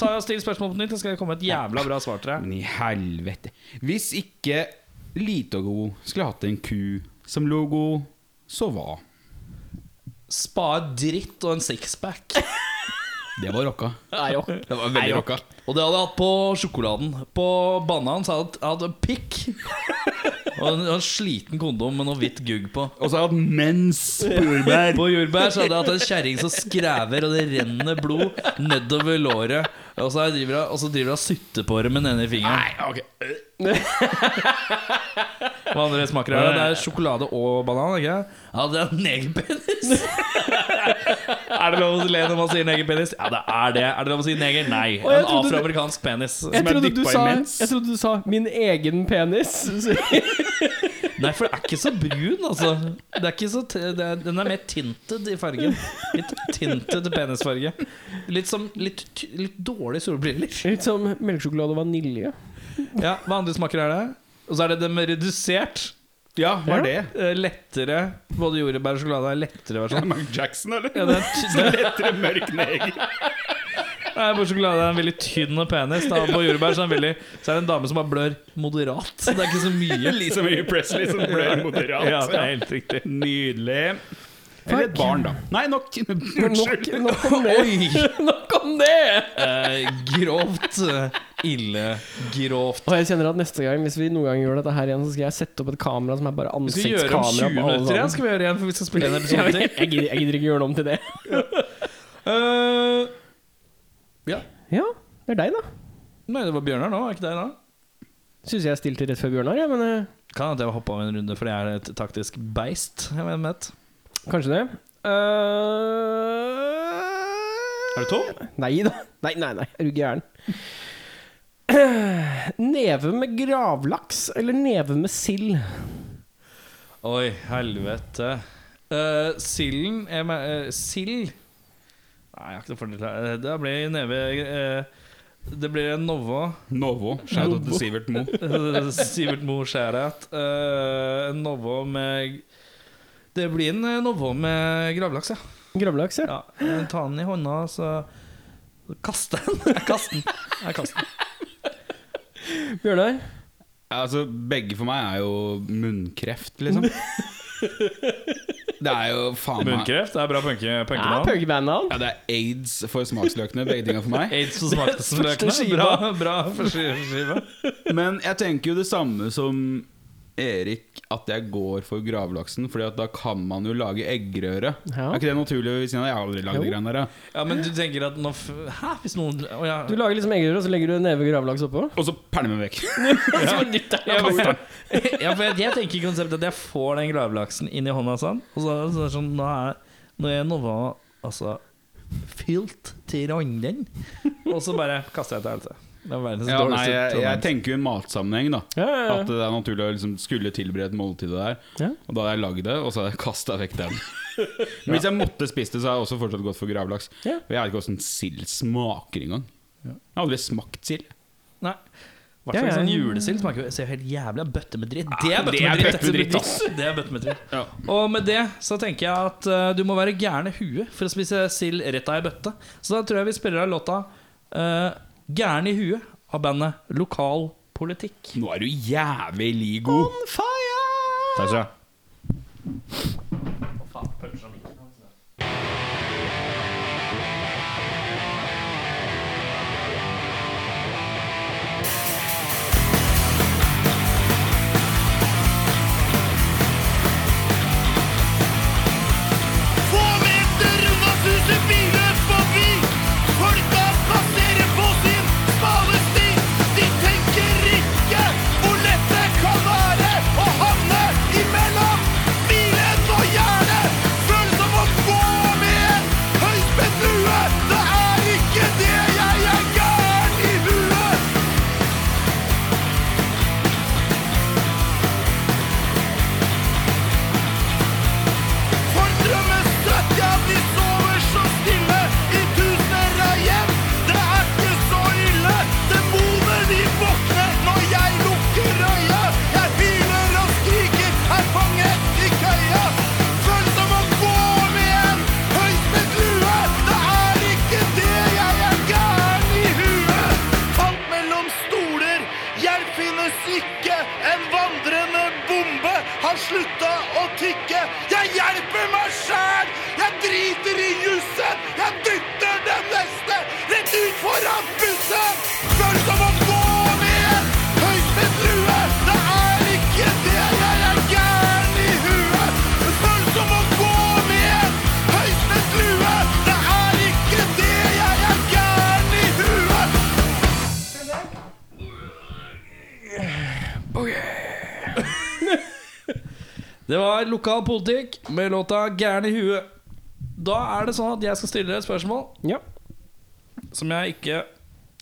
S3: Ta og Still spørsmål på nytt, så skal det komme et jævla bra svar til deg.
S4: Men i helvete. Hvis ikke Litago skulle hatt en ku som logo, så hva?
S3: Spa dritt og en sixpack.
S4: Det var rocka.
S3: [laughs] Nei, jo.
S4: Det var veldig
S3: Nei,
S4: rocka.
S3: Og det hadde jeg hatt på sjokoladen. På bananen så hadde jeg hatt en pikk. [laughs] Og en, og en sliten kondom med noe hvitt gugg på.
S4: Og så har jeg hatt mens [laughs] på jordbær.
S3: På jordbær så hadde jeg hatt en kjerring som skrever, og det renner blod nedover låret. Og så driver jeg- og så driver jeg og sutter på det med den ene fingeren. Nei, ok Hva andre smaker er det? Det er sjokolade og banan, ikke sant? Ja, det er negerpenis. [laughs] er det lov å le når man sier negerpenis? Ja, det er det. Er det lov å si neger? Nei.
S1: Og jeg
S3: En
S1: trodde du-
S3: afroamerikansk penis.
S1: Jeg
S4: er
S1: trodde, du
S4: dyppet i
S1: sa,
S4: mens.
S1: jeg trodde du sa 'min egen penis'. Så-
S3: Nei, for det er ikke så brun, altså. Det er ikke så t det er, den er mer tinted i fargen. Litt tinted penisfarge. Litt som litt, ty- litt dårlige solbriller.
S1: [laughs] Litt som melkesjokolade og vanilje.
S3: Ja, Hva andre smaker er det? Og så er det den med redusert.
S4: Ja, hva er det?
S3: eh, Lettere. Både jordbær og sjokolade er lettere
S4: Er det
S3: versjon.
S4: Mark Jackson, eller?
S3: Ja,
S4: [laughs]
S3: den, ty- den
S4: Lettere mørk neger.
S3: Nei, bare sjokolade er en veldig tynn og penis. Da. På jordbær så er, den veldig, så er det en dame som bare blør moderat. Det er ikke så mye.
S4: Lisa Marie Presley som ble moderat.
S3: Ja, det er helt riktig.
S4: Nydelig. Eller et barn, da. Nei, nok. Unnskyld.
S1: Nok, nok om det! nok om det!
S3: Eh, grovt. Ille grovt.
S1: Og jeg kjenner at neste gang, hvis vi noen gang gjør dette her igjen, så skal jeg sette opp et kamera som er bare
S3: Vi skal gjøre om 20
S1: ansiktskamera. på alle
S3: minutter igjen,
S1: sammen.
S3: skal vi gjøre igjen, for vi skal spille en
S1: Jeg
S3: episode til.
S1: [laughs] jeg gidder, jeg gidder ikke gjøre det om til det.
S3: Eh,
S1: Ja, det er deg, da.
S3: nei, det var Bjørnar nå, er ikke det da?
S1: Syns jeg stilte rett før Bjørnar, jeg, men eh,
S3: Kan hende jeg hoppa av en runde fordi jeg er et taktisk beist. Hvem vet?
S1: kanskje det. Eh,
S3: Er du tom?
S1: Nei da. Nei, nei, nei. Er du gæren? [clears throat] Neve med gravlaks eller neve med sild?
S3: Oi, helvete. Eh, silden jeg me- eh, Sild Nei, jeg har ikke noe fordel her. Eh, Det blir neve eh, Det blir en Novo.
S4: Novo. Shout-out til Sivert Mo.
S3: Eh, [laughs] Sivert Mo Skjærat. Eh, en Novo med Det blir en eh, Novo med gravlaks, ja.
S1: Gravlaks, ja.
S3: Ja, jeg tar den i hånda, så kaster den. [laughs] Jeg kaster den. Jeg kaster den.
S1: Bjørnar?
S4: Altså, begge for meg er jo munnkreft, liksom. Det er jo faen meg
S3: Munnkreft det er bra punke-
S1: Ja,
S3: punkenavn.
S1: Pugband-navn.
S4: Ja, det er aids for smaksløkene, begge tinga for meg.
S3: Aids og smaksløkene.
S1: Første skiva.
S3: Bra, bra første skive.
S4: Men jeg tenker jo det samme som Erik, at jeg går for gravlaksen, Fordi at da kan man jo lage eggerøre.
S1: Ja.
S4: Er ikke det naturlig ved siden av? Jeg har aldri lagd
S1: Jo.
S4: de greiene der. ja.
S3: Ja, men du tenker at nå f- Hæ, hvis noen Å ja.
S1: Du lager liksom eggerøre, og så legger du en neve gravlaks
S3: [laughs]
S1: oppå?
S4: Og så pælme vekk.
S1: Så nytt er det.
S4: [laughs]
S3: Ja, for, ja, for jeg, jeg tenker konseptet at jeg får den gravlaksen inn i hånda sånn, og så, så er det sånn Nå er, nå er Nova altså fylt til randen, og så bare kaster jeg til helvete. Det er verdens
S4: Ja, nei,
S3: dårligste
S4: jeg, jeg
S3: trommel.
S4: tenker jo i matsammenheng, da.
S1: Ja, ja, ja.
S4: At det er naturlig å liksom skulle tilberede måltidet der.
S1: Ja.
S4: Og da hadde jeg lagd det, og så hadde jeg kasta vekk
S1: [laughs]
S4: den. Men hvis jeg måtte spist det, så hadde jeg også fortsatt gått for gravlaks.
S1: Ja.
S4: For Jeg vet ikke hvordan sild smaker engang. Jeg har aldri smakt sild.
S3: Nei. I hvert fall
S1: Ja, ja.
S3: sånn julesild smaker jo ser helt jævlig av bøtte med dritt. Det er bøtte
S4: det er
S3: med dritt!
S4: bøtte
S3: dette
S4: med dritt,
S3: blir dritt. Det er bøtte med dritt. Og med det så tenker jeg at eh, du må være gæren i huet for å spise sild rett av ei bøtte. Så da tror jeg vi spiller av låta eh, 'Gæren i huet' av bandet Lokal Politikk.
S4: Nå er du jævlig god! On fire! Takk skal du ha.
S5: Få meter unna suser biler forbi. Folka passerer på sin smalesti. De tenker ikke hvor lett det kan være å havne imellom bilen og hjernen. Føles som å gå med en høyspent lue. Det er ikke det jeg er gæren i huet. Folk drømmes trøtt, ja, de sover så stille i tusener av hjem. Det er ikke så ille. Demoner, de våkner når jeg lukker øya. Jeg hyler og skriker, er fanget i køya. Føles som å gå med en høyspent lue. Det er ikke det, jeg er gæren i huet. Falt mellom stoler, hjelp finnes ikke. En vandrende bombe har slutta å tikke. Jeg hjelper meg sjæl! Jeg driter i jussen! Jeg dytter den neste rett ut foran bussen! Føles som å gå med en høyspent lue. Det er ikke det jeg er gæren i huet. Det føles som å gå med en høyspent lue. Det er ikke det jeg er gæren i huet.
S3: Det var Lokal Politikk med låta 'Gæren i huet'. Da er det sånn at jeg skal stille deg et spørsmål
S1: Ja,
S3: som jeg ikke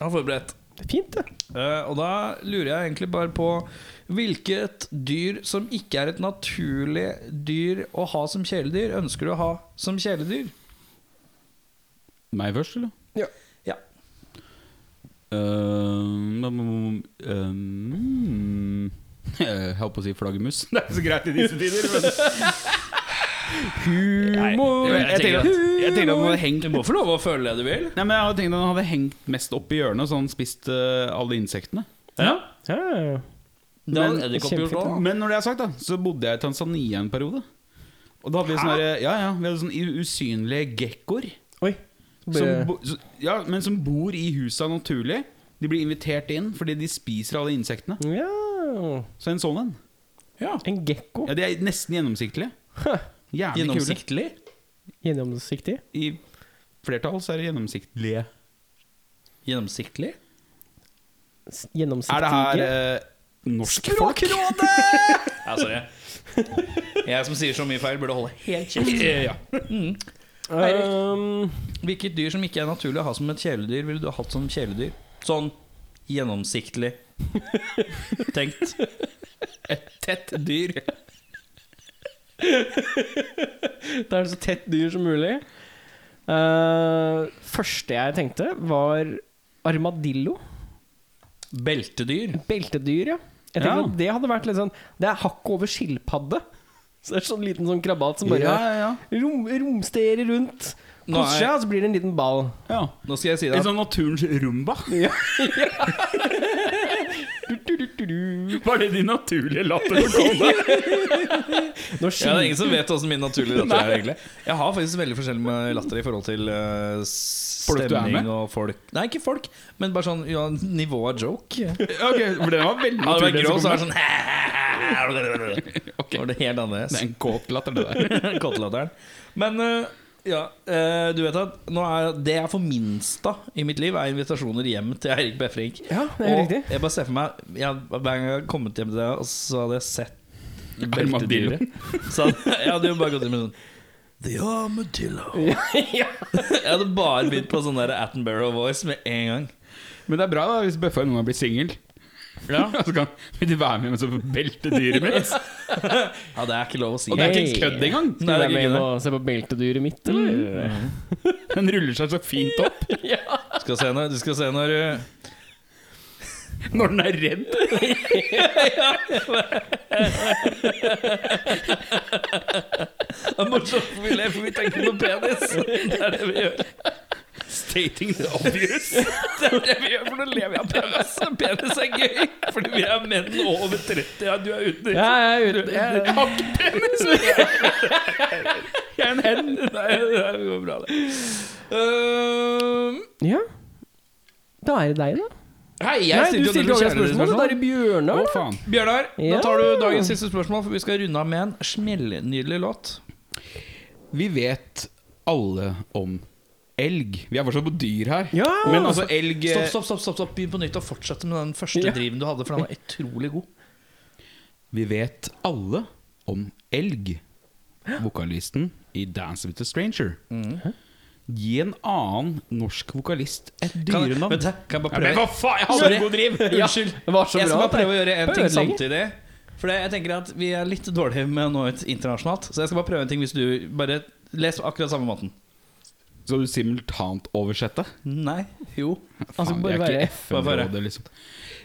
S3: har forberedt.
S1: det er fint, det.
S3: Eh, og da lurer jeg egentlig bare på hvilket dyr som ikke er et naturlig dyr å ha som kjæledyr, ønsker du å ha som kjæledyr?
S4: Meg først, eller?
S3: Ja.
S4: Øhm, øhm, øhm, ehm, [laughs] Jeg holdt på å si flaggermus. Det er så greit i disse tider, men Humor! Jeg, jeg, tenker at- jeg tenker at den hadde hengt
S3: Du må få lov å føle det du vil.
S4: Nei, men jeg hadde tenkt at den hadde hengt mest opp i hjørnet, så han spiste øh, alle insektene.
S1: Ja, ja, ja.
S3: Det
S4: Men-
S3: hadde edderkopp gjort
S1: kjempefint,
S3: også.
S4: Men når det er sagt, da så bodde jeg i Tanzania en periode. Og da hadde vi sånne, der- ja, ja, vi hadde sånne u- usynlige gekkoer.
S1: Oi.
S4: Som, bo, så- ja, men som bor i husa naturlig. De blir invitert inn fordi de spiser alle insektene.
S1: ja.
S4: Så en sånn en.
S1: En gekko.
S4: Ja, De er nesten gjennomsiktige. Jævlig kule.
S3: Gjennomsiktig.
S1: Gjennomsiktig.
S4: I flertall så er det gjennomsiktige.
S3: Gjennomsiktig?
S1: S- Gjennomsiktig
S4: Er det her
S1: gekko.
S4: eh, norsk folk?
S3: Ja, sorry. Jeg som sier så mye feil, burde holde helt kjeft.
S1: Ehm,
S3: Hvilket dyr som ikke er naturlig å ha som et kjæledyr, ville du ha hatt som kjæledyr? Sånn gjennomsiktig [laughs] tenkt. Et tett dyr.
S1: Da er det så tett dyr som mulig. Eh, første jeg tenkte, var armadillo.
S3: Beltedyr.
S1: Beltedyr, ja. Jeg tenkte
S4: Ja.
S1: at Det hadde vært litt sånn Det er hakket over skilpadde. Så det er sånn liten sånn krabbat som
S4: Ja,
S1: bare
S4: ja, ja.
S1: rom, romsterer rundt.
S3: Nå er-
S1: Koser seg, og så blir det en liten ball.
S4: ja.
S3: Nå skal jeg si deg
S4: En sånn naturens rumba.
S3: [laughs]
S4: Var det de naturlige latteren kom
S3: [laughs]
S4: med?
S1: Nå
S3: Ja, det
S1: skil-
S3: er ingen som vet åssen min
S4: [laughs]
S3: naturlige latter er, egentlig. Jeg har faktisk veldig forskjell med latter i forhold til eh,
S4: Folk du er med?
S3: stemning og folk Nei, ikke folk, men bare sånn ja, nivå av joke.
S4: Ok, for den var veldig
S3: [laughs] Hadde det vært
S4: naturlig.
S3: grå, så er
S4: det
S3: [laughs] det sånn Det var det helt annerledes.
S4: Det er en kåt latter, det
S3: [laughs]
S4: der.
S3: Kottelatteren. Men eh, ja, eh, du vet at nå er, det jeg får minst av i mitt liv, er invitasjoner hjem til Eirik Befrink.
S1: Ja, det er
S3: og
S1: riktig.
S3: jeg bare ser for meg jeg, Hver gang jeg har kommet hjem til deg, og så hadde jeg sett
S4: Armadillo.
S3: beltedyret, så hadde jeg hadde jo bare gått inn med sånn
S8: The armadillo.
S1: ja.
S3: Jeg hadde bare begynt på sånn der Attenborough voice med en gang.
S4: Men det er bra da hvis Bøffa noen gang blir singel. [laughs] så kan vil du være med mens du belter dyret mitt.
S3: [laughs] Ja, det er ikke lov å si.
S4: Og det er
S1: Hey.
S4: ikke en kødd engang!
S1: Skal du
S3: Nei, det er
S1: være med
S3: ikke Mm,
S1: inn
S3: det.
S1: og se på beltedyret mitt, eller?
S4: Den ruller seg så fint opp
S3: Du skal se når, du skal se når uh,
S4: når den er redd.
S3: Det er morsomt, for vi ler, for vi tenker på penis. Det er det vi gjør.
S4: Stating the obvious.
S3: Det er det vi gjør, for nå lever vi av penis. Penis er gøy, fordi vi er menn over 30. Ja, du er uten
S1: Ja, jeg er ute. Jeg,
S4: Jeg har ikke penis!
S3: Jeg er en hen. Nei, det går bra, det. Øhm,
S1: Ja. Da er det deg, da.
S3: Ehm, hei, jeg
S1: Nei, du
S3: stilte
S1: stilte jo
S3: jo noen
S1: et spørsmål. Det
S3: kjernespørsmål.
S1: er i Bjørnar.
S4: Å,
S1: da.
S4: faen.
S3: Bjørnar,
S1: Ja.
S3: da tar du dagens siste spørsmål, for vi skal runde av med en smellnydelig låt.
S4: Vi vet alle om elg. Vi er fortsatt på dyr her.
S1: Ja.
S4: Men altså, elg
S3: Stopp, stopp, stopp, stopp, stopp. begynn på nytt og fortsette med den første
S1: Ja.
S3: driven du hadde, for den var utrolig god.
S4: Vi vet alle om elg. Vokalisten i Dance with a Stranger.
S3: Mm.
S4: Gi en annen norsk vokalist et
S3: Kan,
S4: dyrenavn.
S3: vent, kan jeg bare
S4: Ja,
S3: prøve?
S4: men hva faen, jeg hadde
S3: Sorry.
S4: en god driv!
S3: [laughs] Unnskyld.
S1: det var så
S3: jeg skal
S1: bra at jeg-
S3: bare prøve å gjøre en
S1: jeg
S3: ting
S1: ødelegger.
S3: samtidig. For det- jeg tenker at Vi er litt dårlige med å nå ut internasjonalt, så jeg skal bare prøve en ting hvis du bare Les på akkurat samme måten.
S4: Skal du simultant oversette?
S3: Nei. Jo.
S1: Altså,
S4: Faen,
S1: bare
S4: vi er
S1: være
S4: ikke FN-rådet, liksom.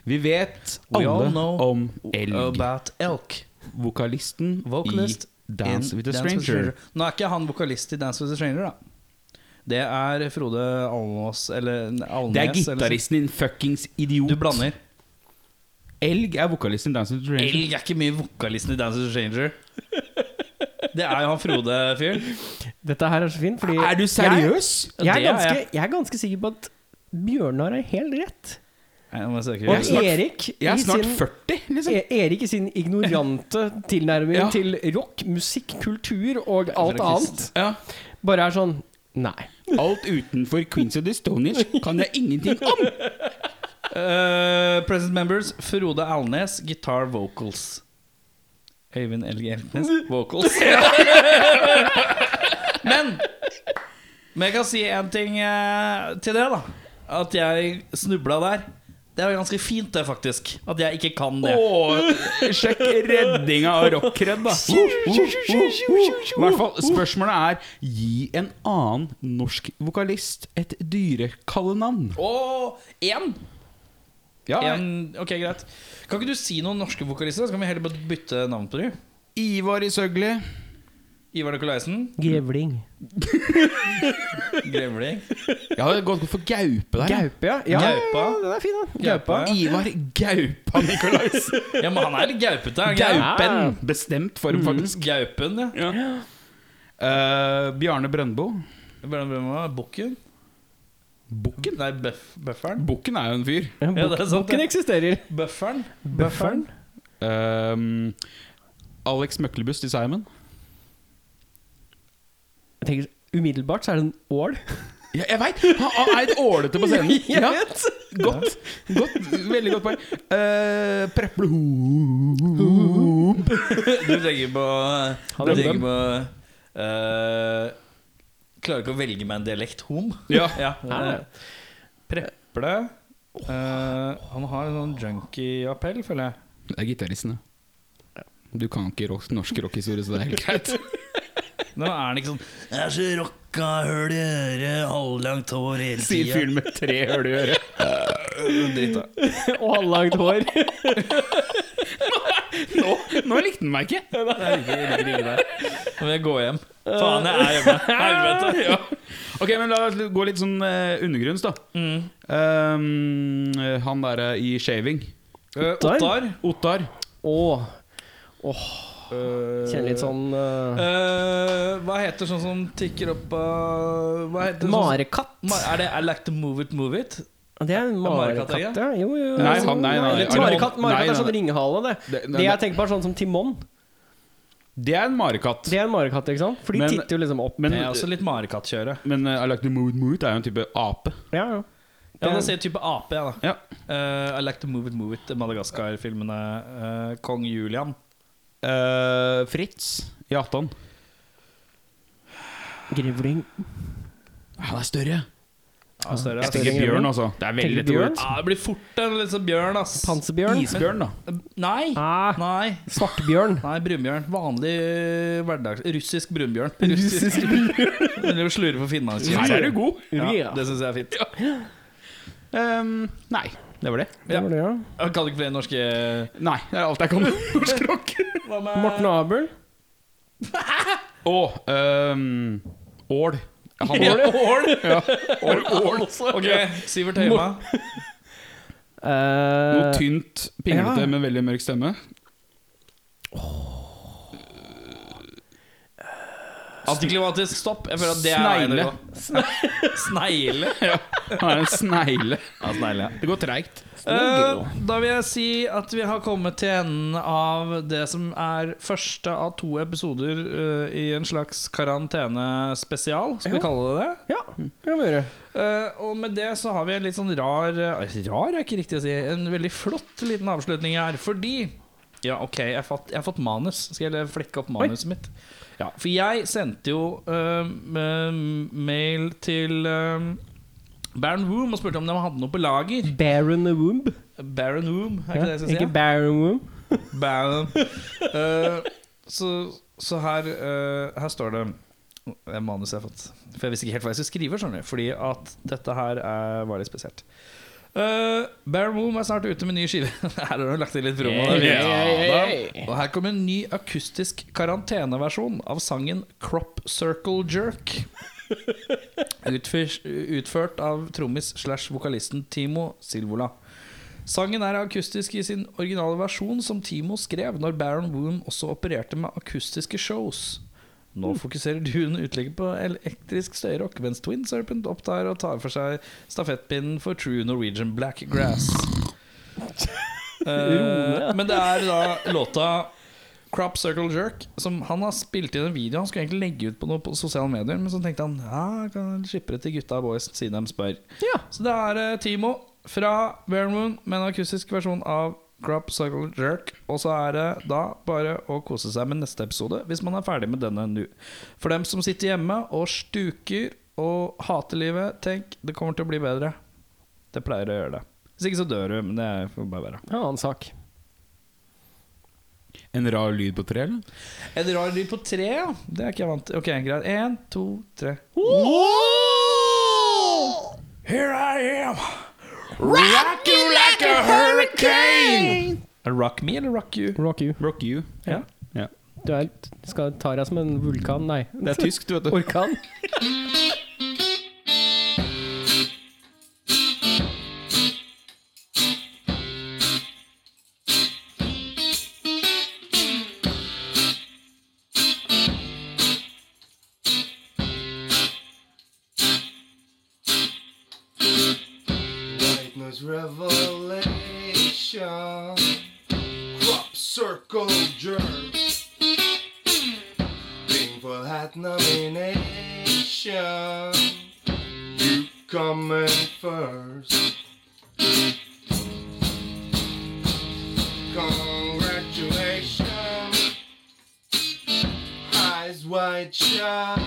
S4: Vi vet
S3: We all
S4: alle
S3: know
S4: om elg.
S3: About elk.
S4: Vokalisten
S3: Vocalist
S4: i Dance
S3: in
S4: with a Stranger.
S3: Nå er ikke han vokalist i Dance with a Stranger, da. Det er Frode Almås eller Alnes.
S4: Det er
S3: eller- sånn.
S4: gitaristen din, fuckings idiot.
S3: Du blander.
S4: Elg er vokalisten i Dance with a Stranger.
S3: Elg er ikke mye vokalisten i Dance with a Stranger. Det er jo han Frode-fyren.
S1: Dette her er så fint, fordi
S4: Er du seriøs?
S1: Jeg, jeg,
S3: Det er
S1: er ganske, jeg er ganske sikker på at Bjørnar er helt rett.
S3: Nei, nå må jeg søke.
S1: Og
S4: er snart-
S1: Erik i
S4: Jeg er snart
S1: sin-
S4: 40, liksom.
S1: E- Erik i sin ignorante tilnærming
S4: Ja.
S1: til rock, musikk, kultur og alt annet
S3: Annet.
S4: Ja.
S1: bare er sånn Nei.
S4: Alt utenfor Queens of the Stonehenge kan jeg ingenting om.
S3: Eh, present members Frode Alnes, guitar vocals. Øyvind Elg Elknes, vocals. Men Men jeg kan si en ting eh, til det, da. At jeg snubla der. Det er jo ganske fint, det, faktisk. At jeg ikke kan det.
S4: [laughs] Åh, sjekk redninga av rockred, da. I hvert fall, spørsmålet er Gi en annen norsk vokalist et dyrekallenavn.
S3: Og én!
S4: Ja,
S3: En- Ok, greit. Kan ikke du si noen norske vokalister? Så kan vi heller bare bytte navn på dem.
S4: Ivar i Søgli.
S3: Ivar Nikolaisen.
S1: Grevling.
S3: Grevling.
S4: Jeg hadde gått for gaupe der.
S1: Gaupe, ja. ja.
S3: Gaupa.
S1: Den er fin, den.
S3: Gaupa.
S4: Ivar Gaupa [laughs] Nikolaisen.
S3: Ja, men han er litt gaupete. er han ikke det?
S4: Gaupen. Bestemt form, faktisk.
S3: Gaupen, ja.
S4: Eh, Bjarne Brøndbo.
S3: Bjørnar Brøndbo er bukken.
S4: Bukken?
S3: Nei, bøff, bøfferen.
S4: Bukken er jo en fyr.
S1: Ja,
S3: Ja, det er sant,
S1: Boken
S3: det.
S1: eksisterer.
S3: Bøfferen.
S1: Bøfferen.
S4: Ehm, Alex Møklebust i Simon.
S1: Jeg tenker Umiddelbart så er det en
S4: [laughs]
S1: ål.
S4: Ja, jeg veit! Han han er et ålete på [laughs] scenen.
S1: Jeg
S4: Ja,
S1: vet.
S4: godt, godt. Veldig godt poeng. Uh, Preple Hoop.
S3: Du tenker på
S1: Han
S3: Du
S1: er
S3: tenker
S1: bøm.
S3: på eh, Klarer ikke å velge meg en dialekt hom.
S4: Ja.
S3: Ja,
S1: Nei.
S3: eh, Preple Eh, Han har en sånn junkie-appell, føler jeg.
S4: Det er gitaristen, ja. Du kan ikke rock, norsk rockehistorie, så det er helt greit.
S3: Nå er han ikke sånn
S8: Jeg er så rocka høl i øret, halvlangt hår hele
S4: [laughs] Sier
S8: tida.
S4: fyren med tre høl i øret.
S3: «Øh, dritt, da.
S1: [laughs] Og halvlangt hår.
S4: Nå, nå likte han meg ikke!
S3: Jeg liker- jeg liker ikke det. Nå vil jeg gå hjem. Faen, jeg er hjemme. Helvete.
S4: [laughs] Ja. Ok, men La oss gå litt sånn eh, undergrunns, da. Ehm, han derre i shaving.
S3: Eh,
S1: Ottar?
S3: Ottar.
S4: Ottar.
S1: Åh. Åh. Kjenner litt sånn eh,
S3: Eh, hva heter sånn som tikker opp av Hva heter sånn
S1: Marekatt.
S3: Ma er det I like to move it, move it?
S1: Det er en marekatt,
S3: Marekatt, ikke?
S1: ja. Jo, jo, jo.
S4: Nei, han- nei,
S1: Eller
S4: nei, nei.
S1: Marekatt,
S4: Nei,
S1: marekatt
S4: nei,
S1: er sånn
S4: nei.
S1: ringhale, det.
S4: Det- nei,
S1: Det
S4: nei.
S1: jeg tenker på, er sånn som Timon.
S4: Det er en marekatt.
S1: Det er en marekatt, ikke sant? For de
S4: Men-
S1: titter jo liksom opp.
S4: Men,
S3: Det er også litt marekattkjøre.
S4: men eh, I like to mood mood er jo en type ape.
S1: Ja, ja.
S3: Ja, da sier jeg type ape, jeg, da.
S4: Ja.
S3: Eh, I like to move it, move it, Madagaskar-filmene. eh, Kong Julian.
S4: Eh, Fritz i Atan.
S1: Grevling.
S4: Han er større.
S3: Ja, større,
S4: Jeg
S3: ass.
S4: tenker bjørn, altså. Det er veldig
S1: Tenker bjørn?
S4: tåret.
S3: Ja, det blir fort en liksom bjørn, ass. Eh,
S1: Pansebjørn.
S4: Isbjørn, da.
S3: Nei.
S1: Ah,
S3: Nei.
S1: svartbjørn.
S3: Nei, brunbjørn. Vanlig øh, hverdags... Russisk brunbjørn.
S1: [laughs] Russisk
S3: [laughs] Eller slurve på Finnmarkskysten.
S4: Her er du god.
S3: Ja,
S1: Ja,
S3: det syns jeg er fint.
S4: Ehm, nei. Det var det.
S3: Ja.
S1: det var det, ja.
S3: Jeg kan ikke flere norske
S4: Nei, det er alt jeg kan. [laughs] Norsk rock.
S3: Hva med
S1: Morten Abel.
S4: Og ehm, ål. Han
S3: Ja,
S4: var
S3: Ål?
S4: ål. ål.
S3: Ok, Sivert Høyma.
S4: Noe
S1: Eh,
S4: tynt, pinglete,
S1: Ja.
S4: men veldig mørk stemme.
S3: Antiklimatisk stopp. Jeg føler at det er veien å
S4: Snegle.
S3: gå. [laughs] Snegle?
S4: Han er en snegle.
S3: Ja, snegle.
S4: Det går treigt.
S3: Eh, da vil jeg si at vi har kommet til enden av det som er første av to episoder eh, i en slags karantenespesial. Skal vi
S1: Ja.
S3: kalle det det?
S1: ja, det kan vi gjøre.
S3: Eh, og med det så har vi en litt sånn rar eh, Rar er ikke riktig å si. En veldig flott liten avslutning her, fordi Ja, OK, jeg har fått, jeg har fått manus. Skal jeg flekke opp manuset mitt? Ja, For jeg sendte jo eh, m- mail til eh, Baron Woom og spurte om de hadde noe på lager.
S1: Baron the Womb.
S3: Baron Woom, er ikke
S1: Ja,
S3: det jeg skal si?
S1: ikke Baron Womb.
S3: Bam. Eh, så, så her eh, Her står det Det er manuset jeg har fått. For jeg visste ikke helt hva jeg skulle skrive. skjønner du Fordi at dette her er, var litt spesielt. Uh, Baron Moom er snart ute med ny skive. [laughs] her har hun lagt til litt promo. det er fint. Ja, da. Og her kommer en ny akustisk karanteneversjon av sangen 'Crop Circle Jerk'. Utfyrs- Utført av trommis slash vokalisten Timo Silvola. Sangen er akustisk i sin originale versjon, som Timo skrev når Baron Woom også opererte med akustiske shows. Nå fokuserer Dune utlegget på elektrisk støyrock, mens Twin Serpent opptar og tar for seg stafettpinnen for True Norwegian Black Grass. Eh, men det er da låta Crop Circle Jerk, som han har spilt inn en video. Han skulle egentlig legge ut på noe på sosiale medier, men så tenkte han ja, jeg kan shippe det til gutta og boys siden de spør. Så det er eh, Timo fra Bare Moon med en akustisk versjon av Crop Circle Jerk. Og så er det da bare å kose seg med neste episode hvis man er ferdig med denne nå. For dem som sitter hjemme og stuker og hater livet, tenk, det kommer til å bli bedre. Det pleier å gjøre det. Hvis ikke så dør du, men det får bare være.
S1: En annen sak.
S4: En rar lyd på tre, eller?
S3: En rar lyd på tre, ja. Det er ikke jeg vant til. Ok, greit. En, to, tre. Here I am. Rock you like a hurricane. Rock me eller rock you?
S1: Rock you.
S4: Rock you.
S3: Ja.
S1: Du er, skal ta deg som en vulkan, nei.
S4: Det er tysk, du vet det.
S1: Orkan.
S2: Darkness revelation. Crop circle jerk. Painful hat nomination. You come in first. Congratulations. Eyes wide shut.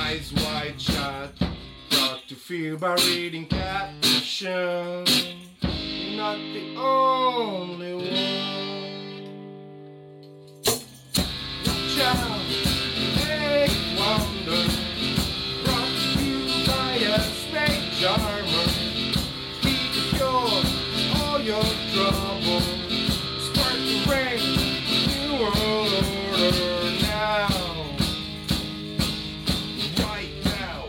S2: Eyes wide shut brought to fear by reading caption. You're not the only one. Watch out, big wonder. Brought to you by a snake charmer. He could cure all your trouble. Spark the rain, new world order now. Right now.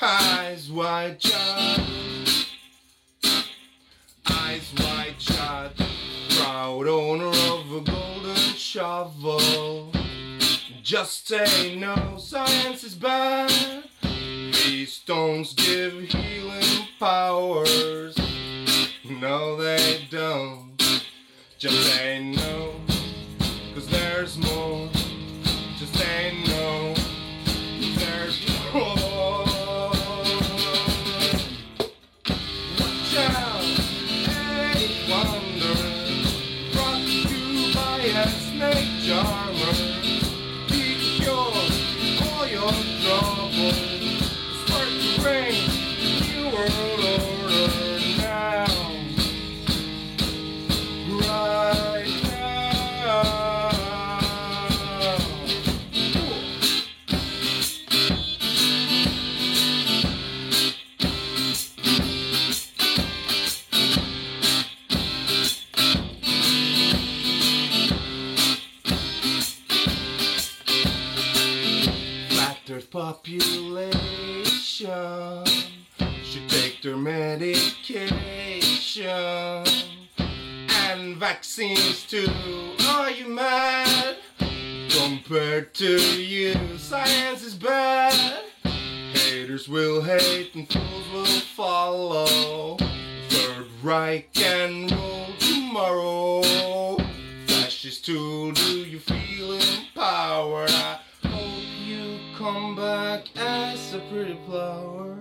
S2: Eyes wide shut. Eyes wide shut. Proud owner of a golden shovel. Just say no, science is bad. These stones give healing powers. No, they don't. Just say no, cause there's more. Just say no. There's more. Watch out, hey, wonder, brought to you by a snake jar. armor. Be cured for your trouble. Start to reign new world order now. Right now. Flat Earth population should take their medication and vaccines too. Are you mad? Compared to you, science is bad. Haters will hate and fools will follow. Third Reich can rule tomorrow. Fascists too, do you feel empowered? I hope you come back as a pretty flower.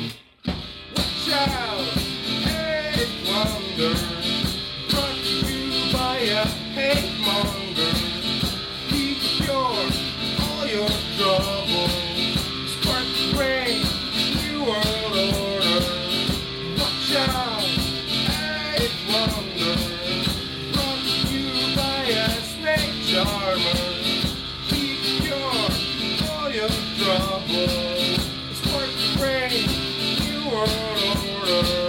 S2: Watch out, hate wonder. Brought to you by a hate monger. Be cured all your trouble. Spark the rain, new world order. Watch out, eight wonder. Brought to you by a snake charmer. Be cured all your trouble. Spark the rain, new world order.